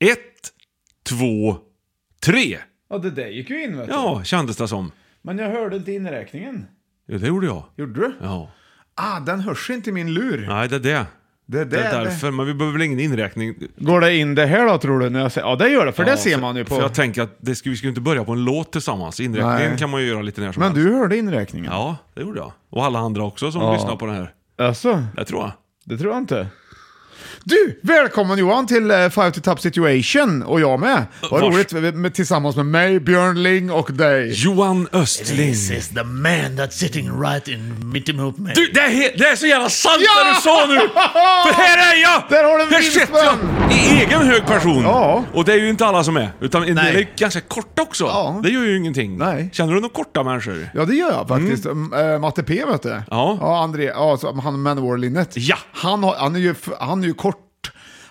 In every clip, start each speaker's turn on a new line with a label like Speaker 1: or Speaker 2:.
Speaker 1: Ett, två, tre.
Speaker 2: Ja, det där gick ju in vet du.
Speaker 1: Ja, kändes det som.
Speaker 2: Men jag hörde inte inräkningen.
Speaker 1: Jo, det gjorde jag.
Speaker 2: Gjorde du?
Speaker 1: Ja.
Speaker 3: Ah, den hörs inte i min lur.
Speaker 1: Nej, det är det.
Speaker 3: Det är
Speaker 1: Det är
Speaker 3: det.
Speaker 1: därför, men vi behöver väl ingen inräkning.
Speaker 2: Går det in det här då tror du? När jag säger... Ja, det gör det, för det ser man ju på...
Speaker 1: För jag tänker att det ska, vi ska ju inte börja på en låt tillsammans. Inräkningen
Speaker 2: Nej.
Speaker 1: kan man ju göra lite när som
Speaker 2: Men
Speaker 1: helst.
Speaker 2: du hörde inräkningen?
Speaker 1: Ja, det gjorde jag. Och alla andra också som
Speaker 2: Ja.
Speaker 1: lyssnar på den här.
Speaker 2: Alltså,
Speaker 1: Det tror jag.
Speaker 2: det tror jag inte.
Speaker 3: Du, välkommen Johan till eh, Five to Top Situation och jag med. Vad
Speaker 1: vars-
Speaker 3: roligt med, med, tillsammans med mig, Björn Ling och dig.
Speaker 1: Johan Östling.
Speaker 4: This is the man that's sitting right in mitt emot mig.
Speaker 1: Du, det är, he- det är så jävla sant
Speaker 3: Ja!
Speaker 1: det du sa nu! För här är jag!
Speaker 3: Där har du en
Speaker 1: Här
Speaker 3: vinstman!
Speaker 1: sitter jag I egen hög person.
Speaker 3: Ja.
Speaker 1: Och det är ju inte alla som är. Utan en del
Speaker 4: Nej.
Speaker 1: är ganska korta också.
Speaker 3: Ja.
Speaker 1: Det gör ju ingenting.
Speaker 3: Nej.
Speaker 1: Känner du några korta människor?
Speaker 3: Ja, det gör jag faktiskt. Mm. eh, Matte P vet du.
Speaker 1: Ja.
Speaker 3: Ja, André, ja, så han Manowar-linnet.
Speaker 1: Ja.
Speaker 3: Han, har, han, är ju, f- han är ju kort.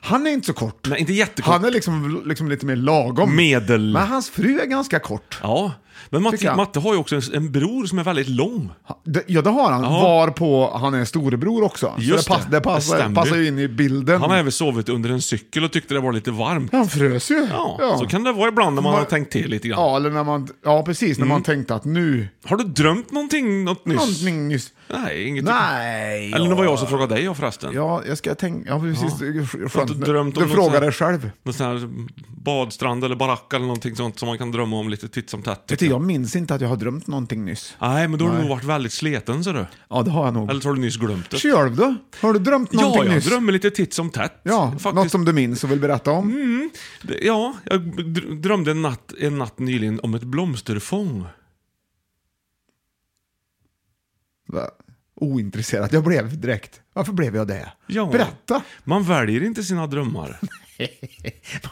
Speaker 3: Han är inte så kort.
Speaker 1: Nej, inte jättekort.
Speaker 3: Han är liksom, liksom lite mer lagom.
Speaker 1: Typ Medel.
Speaker 3: Men hans fru är ganska kort.
Speaker 1: Ja. Men
Speaker 3: Tycker
Speaker 1: Matte,
Speaker 3: jag.
Speaker 1: Matte har ju också en, en bror som är väldigt lång.
Speaker 3: Ha- det- Ja, det har han.
Speaker 1: Ja.
Speaker 3: Varpå han är storebror också. Så
Speaker 1: Just
Speaker 3: det, pass,
Speaker 1: det.
Speaker 3: det.
Speaker 1: Det
Speaker 3: passar,
Speaker 1: stämmer
Speaker 3: passar
Speaker 1: ju.
Speaker 3: ju in i bilden.
Speaker 1: Han har även sovit under en cykel och tyckte det var lite varmt.
Speaker 3: Han frös ju.
Speaker 1: Ja, så kan det vara ibland när man
Speaker 3: Var-
Speaker 1: har tänkt till lite grann.
Speaker 3: Ja, eller när man, ja precis. När
Speaker 1: Mm.
Speaker 3: man tänkte att nu...
Speaker 1: Har du drömt någonting, något nyss?
Speaker 3: Någonting nyss.
Speaker 1: Nej, inget.
Speaker 3: Nej.
Speaker 1: Eller det
Speaker 3: ja.
Speaker 1: var jag som frågade dig ja, förresten.
Speaker 3: Ja, jag ska tänka... Ja, precis. Det är
Speaker 1: Jag har
Speaker 3: Skönt.
Speaker 1: inte drömt om
Speaker 3: du
Speaker 1: något
Speaker 3: frågar
Speaker 1: sånt här-
Speaker 3: dig själv.
Speaker 1: Någon sån här badstrand eller barack eller någonting sånt som man kan drömma om lite titt som tätt.
Speaker 3: Vet du, jag minns inte att jag har drömt någonting nyss.
Speaker 1: Nej, men då har du nog varit väldigt sleten, ser du.
Speaker 3: Ja, det har jag nog.
Speaker 1: Eller så har du nyss glömt det.
Speaker 3: Själv då? Har du drömt någonting
Speaker 1: Ja, jag
Speaker 3: nyss?
Speaker 1: drömmer lite titt som tätt.
Speaker 3: Ja,
Speaker 1: faktiskt.
Speaker 3: något som du minns och vill berätta om?
Speaker 1: Det- Ja, jag dr- drömde en natt, en natt nyligen om ett blomsterfång.
Speaker 3: Va? Ointresserad jag blev direkt. Varför blev jag det?
Speaker 1: Ja.
Speaker 3: Berätta!
Speaker 1: Man väljer inte sina drömmar.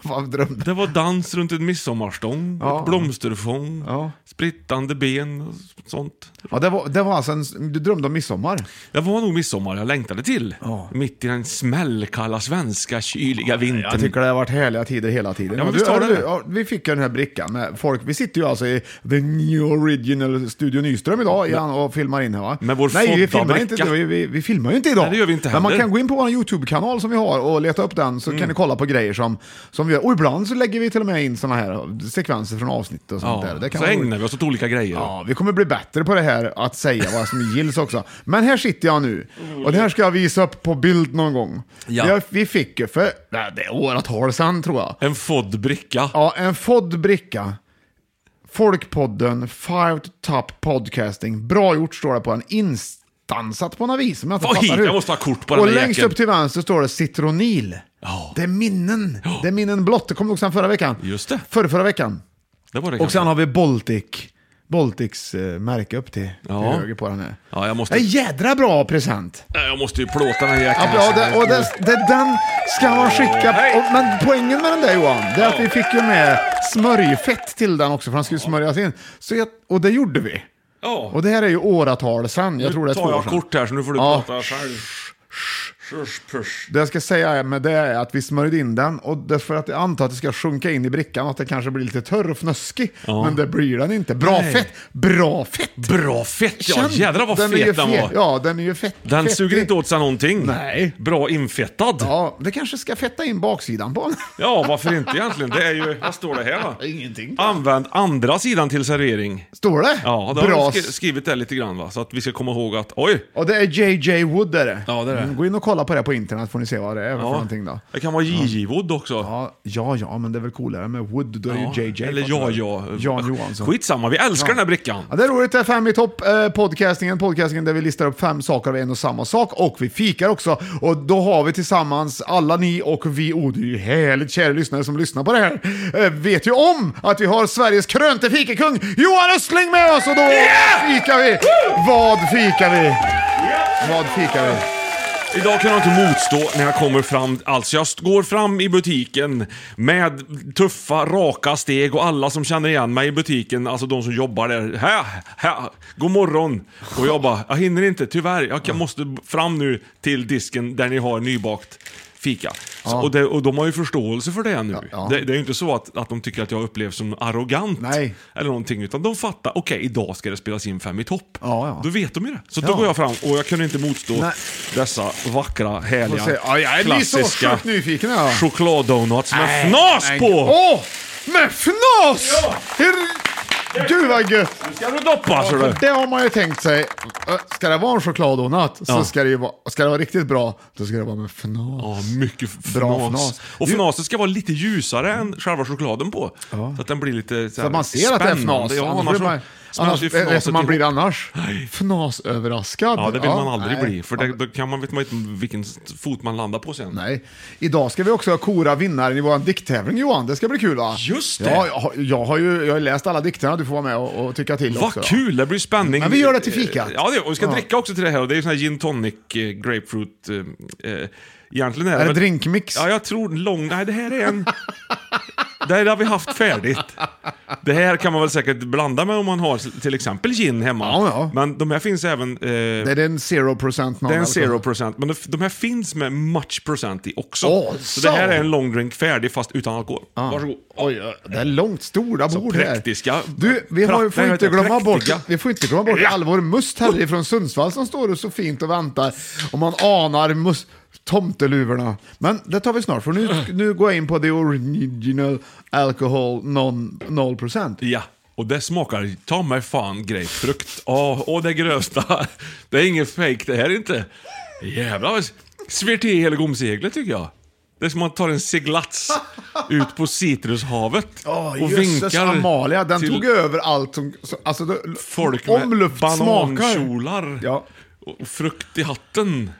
Speaker 3: Vad drömde
Speaker 1: Det var dans runt en midsommarstång,
Speaker 3: Ja.
Speaker 1: ett blomsterfång,
Speaker 3: Ja.
Speaker 1: sprittande ben och sånt.
Speaker 3: ja, det, var, det var alltså en, Du drömde om midsommar?
Speaker 1: Det var nog midsommar jag längtade till. Mitt i den smällkalla svenska kyliga vintern.
Speaker 3: Jag tycker det har varit härliga tider hela tiden.
Speaker 1: Ja, men
Speaker 3: Och
Speaker 1: visst har det
Speaker 3: du,
Speaker 1: det.
Speaker 3: ja, vi fick ju den här brickan med folk. Vi sitter ju alltså i The New Original Studio Nyström idag igen och filmar in här va?
Speaker 1: Med vår
Speaker 3: Nej, vi filmar,
Speaker 1: fodda-bricka.
Speaker 3: inte, idag. vi, vi, vi filmar ju inte idag.
Speaker 1: Nej, det gör vi inte
Speaker 3: Men man
Speaker 1: heller. Mm.
Speaker 3: kan gå in på vår YouTube-kanal som vi har och leta upp den så kan ni kolla på grejer som, som vi gör. Och ibland så lägger vi till och med in sådana här sekvenser från avsnitt och sånt
Speaker 1: ja,
Speaker 3: där. Det kan
Speaker 1: så
Speaker 3: vara-
Speaker 1: ägnar vi oss åt olika grejer.
Speaker 3: Ja, vi kommer bli bättre på det här att säga vad som gills också. Men här sitter jag nu och det här ska jag visa upp på bild någon gång.
Speaker 1: Ja.
Speaker 3: Jag, vi fick ju för nej, det är åratal sedan tror jag.
Speaker 1: En foddbricka.
Speaker 3: Ja, en fodd bricka. Folkpodden, Five to Top Podcasting. Bra gjort står det på en. Instansat på något vis. Men jag, inte
Speaker 1: Vad
Speaker 3: fattar
Speaker 1: hit,
Speaker 3: hur.
Speaker 1: jag måste ha kort på
Speaker 3: Och
Speaker 1: den här
Speaker 3: längst
Speaker 1: jäkeln.
Speaker 3: upp till vänster står det citronil.
Speaker 1: Ja.
Speaker 3: Det är minnen. Det är minnen blott. Det kom också sen förra veckan.
Speaker 1: Just det.
Speaker 3: Förra, förra veckan.
Speaker 1: Det var det
Speaker 3: Och
Speaker 1: kanske.
Speaker 3: sen har vi Baltic. Baltics eh, märke upp till,
Speaker 1: Ja.
Speaker 3: till höger på den här.
Speaker 1: Ja, jag måste-
Speaker 3: Det är en jädra bra present.
Speaker 1: Nej, Jag måste ju plåta den här jäkeln.
Speaker 3: Ja, bra, det, och det, det, den ska man skicka.
Speaker 1: Hej!
Speaker 3: Och, men poängen med den där Johan, det är att vi fick ju med smörjfett till den också, för den skulle smörjas in. Så jag, och det gjorde vi.
Speaker 1: Ja.
Speaker 3: Och det här är ju åratal sedan, jag tror det är två
Speaker 1: tar
Speaker 3: år
Speaker 1: jag
Speaker 3: sedan.
Speaker 1: kort här så nu får du
Speaker 3: Ja.
Speaker 1: prata själv. Shush, push.
Speaker 3: Det jag ska säga är- med det är att vi smörjde in den och det är för att jag antar att det ska sjunka in i brickan och att den kanske blir lite törr och fnöskig. Men det blir den inte. Bra
Speaker 1: Nej.
Speaker 3: fett! Bra fett!
Speaker 1: Bra fett ja!
Speaker 3: Känn-
Speaker 1: Jädrar vad
Speaker 3: är ju
Speaker 1: fet den
Speaker 3: fet.
Speaker 1: var.
Speaker 3: Ja, den är ju fett.
Speaker 1: Den
Speaker 3: fettig.
Speaker 1: suger inte åt sig någonting.
Speaker 3: Nej.
Speaker 1: Bra infettad. Ja.
Speaker 3: Ja, det kanske ska fetta in baksidan på den.
Speaker 1: varför inte egentligen? Det är ju, vad står det här va?
Speaker 3: Ingenting.
Speaker 1: Använd andra sidan till servering.
Speaker 3: Står det?
Speaker 1: Ja, det
Speaker 3: Bra.
Speaker 1: har vi skri- skrivit det lite grann va, så att vi ska komma ihåg att, oj!
Speaker 3: Och det är JJ Wood är det.
Speaker 1: Ja, det är det.
Speaker 3: Mm, Gå in och kolla på det på internet får ni se vad det är för
Speaker 1: Ja,
Speaker 3: någonting då.
Speaker 1: det kan vara JJ Wood också.
Speaker 3: Ja, ja, ja, men det är väl coolare med Wood, då är
Speaker 1: Ja,
Speaker 3: ju JJ.
Speaker 1: Eller ja, ja.
Speaker 3: Jan Johansson.
Speaker 1: Skitsamma, vi älskar den här brickan.
Speaker 3: Ja, det är roligt, det är fem i topp, eh, podcastingen, podcastingen där vi listar upp fem saker av en och samma sak och vi fikar också. Och då har vi tillsammans, alla ni och vi, oh det är ju härligt kära lyssnare som lyssnar på det här, eh, vet ju om att vi har Sveriges krönte fikakung Johan Östling med oss och då fikar vi. Vad fikar vi? Vad fikar vi?
Speaker 1: Idag kan jag inte motstå när jag kommer fram. Alltså jag st- går fram i butiken med tuffa, raka steg och alla som känner igen mig i butiken, alltså de som jobbar där. Hä, hä, god morgon! Och jag bara, jag hinner inte, tyvärr. Jag kan, måste b- fram nu till disken där ni har nybakt fika. Så, och, det, och de har ju förståelse för det nu.
Speaker 3: ja.
Speaker 1: Det, det är ju inte så att, att de tycker att jag upplevs som arrogant.
Speaker 3: Nej.
Speaker 1: Eller någonting, utan de fattar, okej idag ska det spelas in fem i topp.
Speaker 3: Ja, ja.
Speaker 1: Då vet de ju det. Så då
Speaker 3: Ja.
Speaker 1: går jag fram och jag kunde inte motstå
Speaker 3: Nej.
Speaker 1: dessa vackra,
Speaker 3: Får
Speaker 1: härliga,
Speaker 3: se. Ja, jag är lite så
Speaker 1: klassiska
Speaker 3: sjukt nyfiken här. va?
Speaker 1: chokladdonuts med fnas på!
Speaker 3: Åh! Med fnas! Her- Gud vad gött!
Speaker 1: Nu ska du doppa, ser du!
Speaker 3: För det har man ju tänkt sig. Ö, Ska det vara en chokladdonut
Speaker 1: Ja.
Speaker 3: så ska det ju vara, ska det vara riktigt bra, då ska det vara med fnas.
Speaker 1: Ja, mycket fnas.
Speaker 3: Bra fnas.
Speaker 1: Och
Speaker 3: Jo.
Speaker 1: fnaset ska vara lite ljusare än själva chokladen på. Så att den blir lite så,
Speaker 3: Så
Speaker 1: här
Speaker 3: att man ser att det är fnas.
Speaker 1: spännande. Ja,
Speaker 3: annars
Speaker 1: annars,
Speaker 3: blir man, annars,
Speaker 1: annars,
Speaker 3: är det
Speaker 1: annars
Speaker 3: som man blir annars.
Speaker 1: Nej.
Speaker 3: Fnasöverraskad.
Speaker 1: Ja, det vill man aldrig
Speaker 3: nej.
Speaker 1: bli. För det, då kan man, vet man inte vilken fot man landar på sen.
Speaker 3: Nej. Idag ska vi också kora vinnaren i vår dikttävling Johan. Det ska bli kul va?
Speaker 1: Just det.
Speaker 3: Ja, jag, har- jag har ju jag har läst alla dikterna, du får vara med och, och tycka till också.
Speaker 1: Vad
Speaker 3: då.
Speaker 1: kul, det blir spänning. Eh,
Speaker 3: Men vi gör det till fikat.
Speaker 1: Ja, det, och vi ska
Speaker 3: Ja.
Speaker 1: dricka också till det här. Och det är ju sån här gin tonic, eh, grapefruit. Eh, eh, egentligen är
Speaker 3: Är det
Speaker 1: väl-
Speaker 3: drinkmix?
Speaker 1: Ja, jag tror lång... Nej, det här är en... det här har vi haft färdigt. Det här kan man väl säkert blanda med om man har till exempel gin hemma.
Speaker 3: Ja, ja.
Speaker 1: Men de här finns även... Eh,
Speaker 3: Det är en 0% non
Speaker 1: det är en 0%, men de- de här finns med much procent i också.
Speaker 3: Åh,
Speaker 1: så det här
Speaker 3: så. Ah.
Speaker 1: är en long drink färdig fast utan alkohol. Varsågod.
Speaker 3: Oj, det är långt, stora
Speaker 1: Så
Speaker 3: bord här.
Speaker 1: präktiska.
Speaker 3: Du, vi har, ju- får,
Speaker 1: Pra-
Speaker 3: inte
Speaker 1: nej,
Speaker 3: glömma bort,
Speaker 1: präktiga.
Speaker 3: vi får inte glömma bort
Speaker 1: Ja.
Speaker 3: Alvor Must heller från Sundsvall som står och så fint och väntar. Och man anar must, tomteluvorna. Men det tar vi snart, för nu, nu går jag in på the original alcohol non, 0%.
Speaker 1: Ja, och det smakar ta mig fan grapefrukt. Åh, åh det grövsta. Det är inget fake det här inte. Jävlar vad svir till hela gomseglet tycker jag. Det är som att man tar en seglats ut på citrushavet
Speaker 3: Åh, jösses Amalia, den tog över allt som... så- Alltså, det,
Speaker 1: folk
Speaker 3: om
Speaker 1: med
Speaker 3: luft smakar.
Speaker 1: banankjolar
Speaker 3: Ja.
Speaker 1: och frukt i hatten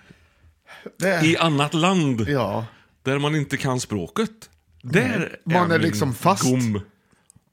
Speaker 3: Det,
Speaker 1: i annat land
Speaker 3: Äh. ja.
Speaker 1: där man inte kan språket. Där
Speaker 3: Man är
Speaker 1: min
Speaker 3: liksom fast.
Speaker 1: Gom.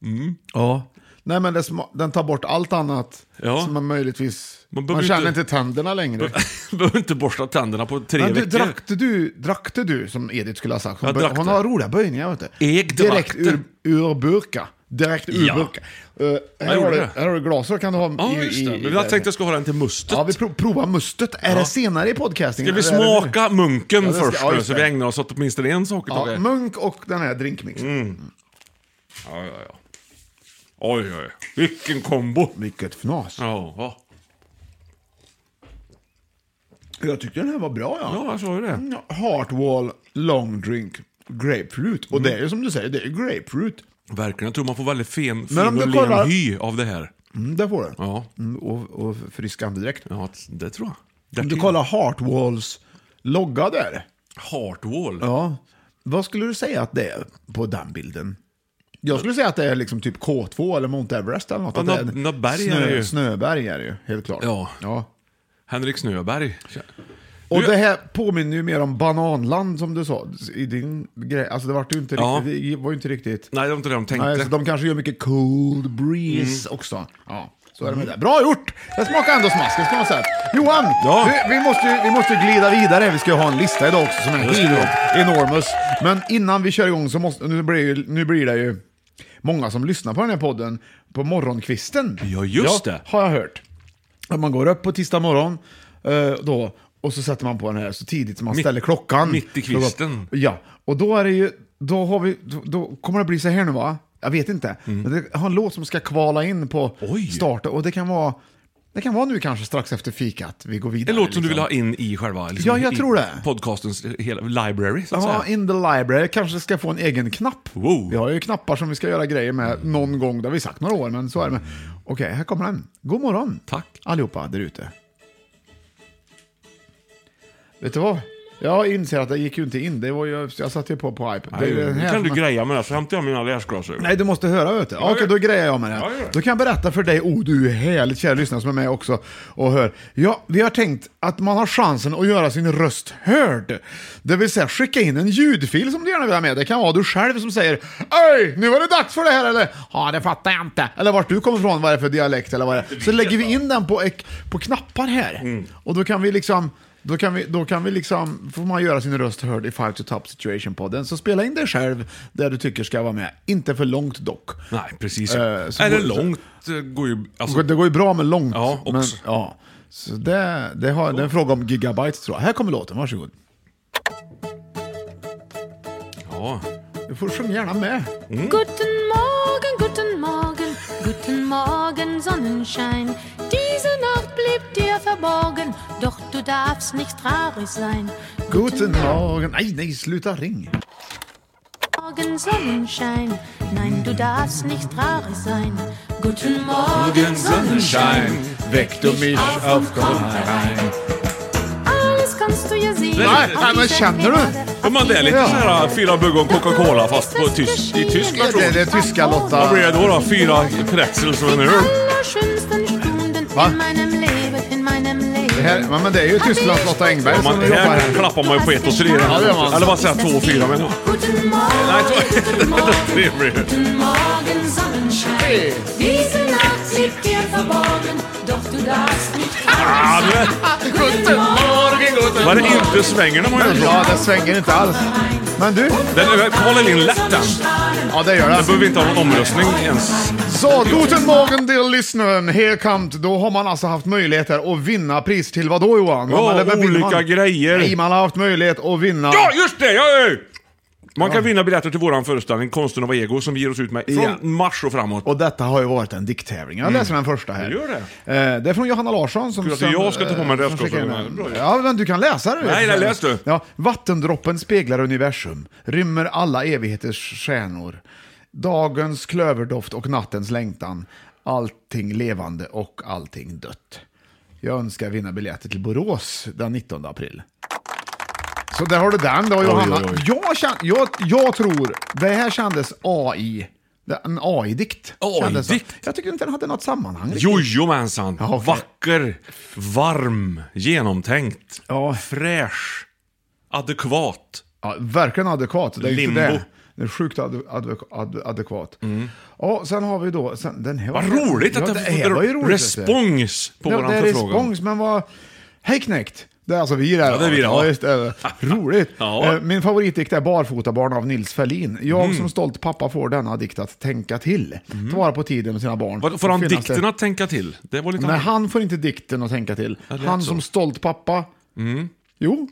Speaker 1: Mm.
Speaker 3: Ja. Nej men det sma- den tar bort allt annat
Speaker 1: Ja.
Speaker 3: som man möjligtvis...
Speaker 1: Man
Speaker 3: Man,
Speaker 1: behöver
Speaker 3: känner
Speaker 1: inte-
Speaker 3: inte tänderna längre.
Speaker 1: Behöver inte borsta tänderna på tre
Speaker 3: Men du,
Speaker 1: veckor.
Speaker 3: drackte du, drackte du, som Edith skulle ha sagt. Hon,
Speaker 1: Jag
Speaker 3: bör-
Speaker 1: drack
Speaker 3: hon
Speaker 1: det.
Speaker 3: har roliga böjningar vet du.
Speaker 1: Eg
Speaker 3: Direkt
Speaker 1: drackte.
Speaker 3: ur, ur burka. Direkt ur
Speaker 1: Ja.
Speaker 3: burka. Eh, här,
Speaker 1: gjorde
Speaker 3: har du,
Speaker 1: det.
Speaker 3: här har du glas, så kan du ha
Speaker 1: Ja,
Speaker 3: i-
Speaker 1: just
Speaker 3: i-
Speaker 1: det.
Speaker 3: i-
Speaker 1: Men jag tänkte jag skulle ha den till mustet.
Speaker 3: Ja, vi pro- provar mustet. Är det senare i podcastingen?
Speaker 1: Ska vi
Speaker 3: eller är det nu?
Speaker 1: smaka munken
Speaker 3: Ja, det ska-
Speaker 1: först
Speaker 3: ja,
Speaker 1: nu,
Speaker 3: just
Speaker 1: så
Speaker 3: det.
Speaker 1: vi ägnar oss åt åtminstone en sak i
Speaker 3: Ja,
Speaker 1: taget?
Speaker 3: munk och den här drinkmixen.
Speaker 1: Mm. Ja, ja, ja. Oj, oj, vilken kombo!
Speaker 3: Vilket fnas.
Speaker 1: Ja, ja.
Speaker 3: Jag tyckte den här var bra ja.
Speaker 1: ja jag sa ju det.
Speaker 3: Ja, Heartwall long drink grapefruit.
Speaker 1: Mm.
Speaker 3: Och det är ju som du säger, det är grapefruit.
Speaker 1: Verkligen, jag tror man får väldigt fin, fin
Speaker 3: Men om
Speaker 1: och
Speaker 3: du
Speaker 1: len
Speaker 3: kollar-
Speaker 1: hy av det här.
Speaker 3: Mm, det får du.
Speaker 1: Ja.
Speaker 3: Mm, och, och frisk andedräkt.
Speaker 1: Ja, det tror
Speaker 3: Om
Speaker 1: jag. Därtill.
Speaker 3: du kollar Heartwalls logga där.
Speaker 1: Heartwall.
Speaker 3: Ja. Vad skulle du säga att det är på den bilden? Jag skulle säga att det är liksom typ K2 eller Mount Everest eller något.
Speaker 1: Ja,
Speaker 3: att det
Speaker 1: nå-
Speaker 3: en
Speaker 1: nå berg är
Speaker 3: snö,
Speaker 1: det ju.
Speaker 3: Snöberg är det ju, helt klart.
Speaker 1: Ja. Henrik Snöberg.
Speaker 3: Och
Speaker 1: Du-
Speaker 3: det här påminner ju mer om bananland som du sa i din grej. Alltså det var ju inte
Speaker 1: Ja.
Speaker 3: riktigt, det var ju inte riktigt...
Speaker 1: Nej, det var inte det de tänkte. Mm.
Speaker 3: Nej, så de kanske gör mycket cold breeze också. Ja, så är det med det. Bra gjort! Det smakar ändå smask, det ska man säga. Johan,
Speaker 1: Ja.
Speaker 3: vi, vi, måste, ju- vi måste ju glida vidare. Vi ska ju ha en lista idag också som är
Speaker 1: det ska vi
Speaker 3: helt enormous. Men innan vi kör igång så måste, nu blir, ju- nu blir det ju många som lyssnar på den här podden på morgonkvisten.
Speaker 1: Ja, just det.
Speaker 3: Har jag hört. Att man går upp på tisdag morgon eh, då Och så sätter man på den här så tidigt som man
Speaker 1: Mitt-
Speaker 3: ställer klockan.
Speaker 1: mitt i kvisten.
Speaker 3: Ja, och då är det ju, då har vi, då, då kommer det bli så här nu va? Jag vet inte. Men det har en låt som ska kvala in på
Speaker 1: Mm. Oj.
Speaker 3: starten och det kan vara, det kan vara nu kanske strax efter fikat vi går vidare.
Speaker 1: En låt som du vill
Speaker 3: liksom.
Speaker 1: ha in i själva liksom,
Speaker 3: Ja, jag
Speaker 1: i
Speaker 3: tror det.
Speaker 1: podcastens hela library, så
Speaker 3: liksom.
Speaker 1: att
Speaker 3: Ja,
Speaker 1: säga.
Speaker 3: in the library. Kanske ska få en egen knapp.
Speaker 1: Wow. Mm.
Speaker 3: Vi har ju knappar som vi ska göra grejer med någon gång. Det har vi sagt några år, men så är det. Men- Okej, här kommer den. God morgon.
Speaker 1: Tack.
Speaker 3: Allihopa där ute. Vet du vad? Jag inser att det gick ju inte in. Det var ju, jag satte ju på på iPad.
Speaker 1: Nej,
Speaker 3: det är den
Speaker 1: nu
Speaker 3: här
Speaker 1: kan du
Speaker 3: som-
Speaker 1: greja med det, så hämtar jag mina läsglasögon.
Speaker 3: Nej, du måste höra vet du. Okej, då grejar jag med det.
Speaker 1: Ja, ja.
Speaker 3: Då kan jag berätta för dig, oh du är härligt kära lyssnare som är med också och hör. Ja, vi har tänkt att man har chansen att göra sin röst hörd. Det vill säga skicka in en ljudfil som du gärna vill ha med. Det kan vara du själv som säger Öj, nu är det dags för det här eller Ja, det fattar jag inte. Eller vart du kommer ifrån, vad det är för dialekt eller vad det är. Så lägger vi in den på, ek- på knappar här. Och då kan vi liksom då kan, vi, då kan vi liksom, får man göra sin röst hörd i Five to Top Situation-podden. Så spela in dig själv där du tycker ska vara med. Inte för långt dock.
Speaker 1: Nej, precis.
Speaker 3: Eh, så-
Speaker 1: Är det
Speaker 3: så-
Speaker 1: långt, eh, går ju... Alltså,
Speaker 3: Det går ju bra med långt.
Speaker 1: Ja, också.
Speaker 3: men, ja. Så det, det, har, det är en fråga om gigabyte tror jag. Här kommer låten, varsågod.
Speaker 1: ja.
Speaker 3: Du får sjunga gärna med.
Speaker 5: Guten Morgen, guten Morgen, guten Morgen, Sonnenschein. Diese Nacht blieb dir verborgen, doch du darfst nicht traurig sein.
Speaker 3: Guten morgen. Nej, nej, sluta ring.
Speaker 5: Morgen, Sonnenschein. Nein, du darfst nicht traurig sein. Guten Morgen, Sonnenschein.
Speaker 3: Väck du mich auf, komm herein.
Speaker 5: Alles kannst du ja sehen.
Speaker 3: Nej, nej, men känner du?
Speaker 1: Om man det är lite
Speaker 3: Ja.
Speaker 1: så här fyra bugg och Coca-Cola fast på tysk, i tysk
Speaker 3: Det,
Speaker 1: version.
Speaker 3: det, det är tyska
Speaker 1: Vad
Speaker 3: Lotta.
Speaker 1: blir det då? då? Fyra pretzels och en öl?
Speaker 5: Allerschönsten Stunden
Speaker 3: Va?
Speaker 5: in meinem Leben, in meinem Leben.
Speaker 3: Det här, ja, men det är ju Tysklands Lotta Engberg
Speaker 1: Ja,
Speaker 3: som
Speaker 1: Man,
Speaker 3: jobbar
Speaker 1: här
Speaker 3: här.
Speaker 1: klappar man ju på ett och tre.
Speaker 5: Ja,
Speaker 3: det gör man.
Speaker 1: Eller vad säger jag? Två och fyra menar jag.
Speaker 5: Guten Morgen.
Speaker 1: Nej, två- det blir det.
Speaker 5: Guten Morgen, Sonnenschein. Diese Nacht liegt dir verborgen, doch du darfst nicht
Speaker 1: Ja, Ah, du vet.
Speaker 3: Guten morgen, guten
Speaker 1: Vad det inte svänger när man gör så.
Speaker 3: Ja, det svänger inte alls. Men du,
Speaker 1: Den håller in lätt den.
Speaker 3: ja det gör det.
Speaker 1: Den behöver vi inte ha någon omröstning ens.
Speaker 3: Så, guten morgen till lyssnaren. Här kamt, då har man alltså haft möjligheter att vinna pris till vad då Johan?
Speaker 1: Ja,
Speaker 3: Eller vad vinner
Speaker 1: olika grejer.
Speaker 3: Nej, man har haft möjlighet att vinna.
Speaker 1: Ja, just det! Ja, ja. Man kan vinna biljetter till våran föreställning Konsten att vara ego som vi ger oss ut med från
Speaker 3: Ja.
Speaker 1: mars och framåt.
Speaker 3: Och detta har ju varit en dikttävling. Jag läser den första här.
Speaker 1: Mm. Det gör
Speaker 3: det. Eh, det är från Johanna Larsson. Som
Speaker 1: Kul att jag ska ta på mig
Speaker 3: eh,
Speaker 1: en
Speaker 3: som
Speaker 1: röstgås.
Speaker 3: skickar in den.
Speaker 1: Det är bra ju.
Speaker 3: Ja, men du kan läsa det.
Speaker 1: Nej, nej, läs du.
Speaker 3: Ja, vattendroppen speglar universum, rymmer alla evigheters stjärnor. Dagens klöverdoft och nattens längtan. Allting levande och allting dött. Jag önskar vinna biljetter till Borås den 19 april. Så där har du den då Johanna.
Speaker 1: oj, oj.
Speaker 3: Jag, kän, jag, jag tror, det här kändes AI. Det- En AI-dikt. kändes det.
Speaker 1: AI-dikt?
Speaker 3: Jag tycker inte den hade något sammanhang. riktigt.
Speaker 1: Jojomensan!
Speaker 3: Ja, okej.
Speaker 1: Vacker, varm, genomtänkt,
Speaker 3: Ja.
Speaker 1: fräsch, adekvat.
Speaker 3: Ja, verkligen adekvat. Det är
Speaker 1: Limbo. Mm.
Speaker 3: inte det. Det är sjukt ad, ad, ad, adekvat. Ja, sen har vi då... Sen, den här
Speaker 1: Vad roligt att
Speaker 3: ja,
Speaker 1: det,
Speaker 3: det här var ju roligt.
Speaker 1: respons på
Speaker 3: Ja,
Speaker 1: våran
Speaker 3: det är
Speaker 1: förfrågan.
Speaker 3: respons, men vad... Hej knekt! Det är alltså vi det.
Speaker 1: Ja, det är vi det, ja.
Speaker 3: just det. Roligt.
Speaker 1: Ja. Mm.
Speaker 3: Eh, Min favoritdikt är Barfotabarn av Nils Ferlin. Jag som stolt pappa får denna dikt att tänka till. Ta vara på tiden med sina barn.
Speaker 1: Vad- Får han
Speaker 3: Finnas det-
Speaker 1: dikten att tänka till? Det var lite
Speaker 3: Nej,
Speaker 1: annorlunda.
Speaker 3: han får inte dikten att tänka till.
Speaker 1: det lät
Speaker 3: Han
Speaker 1: så.
Speaker 3: som
Speaker 1: Mm.
Speaker 3: stolt pappa. Jo.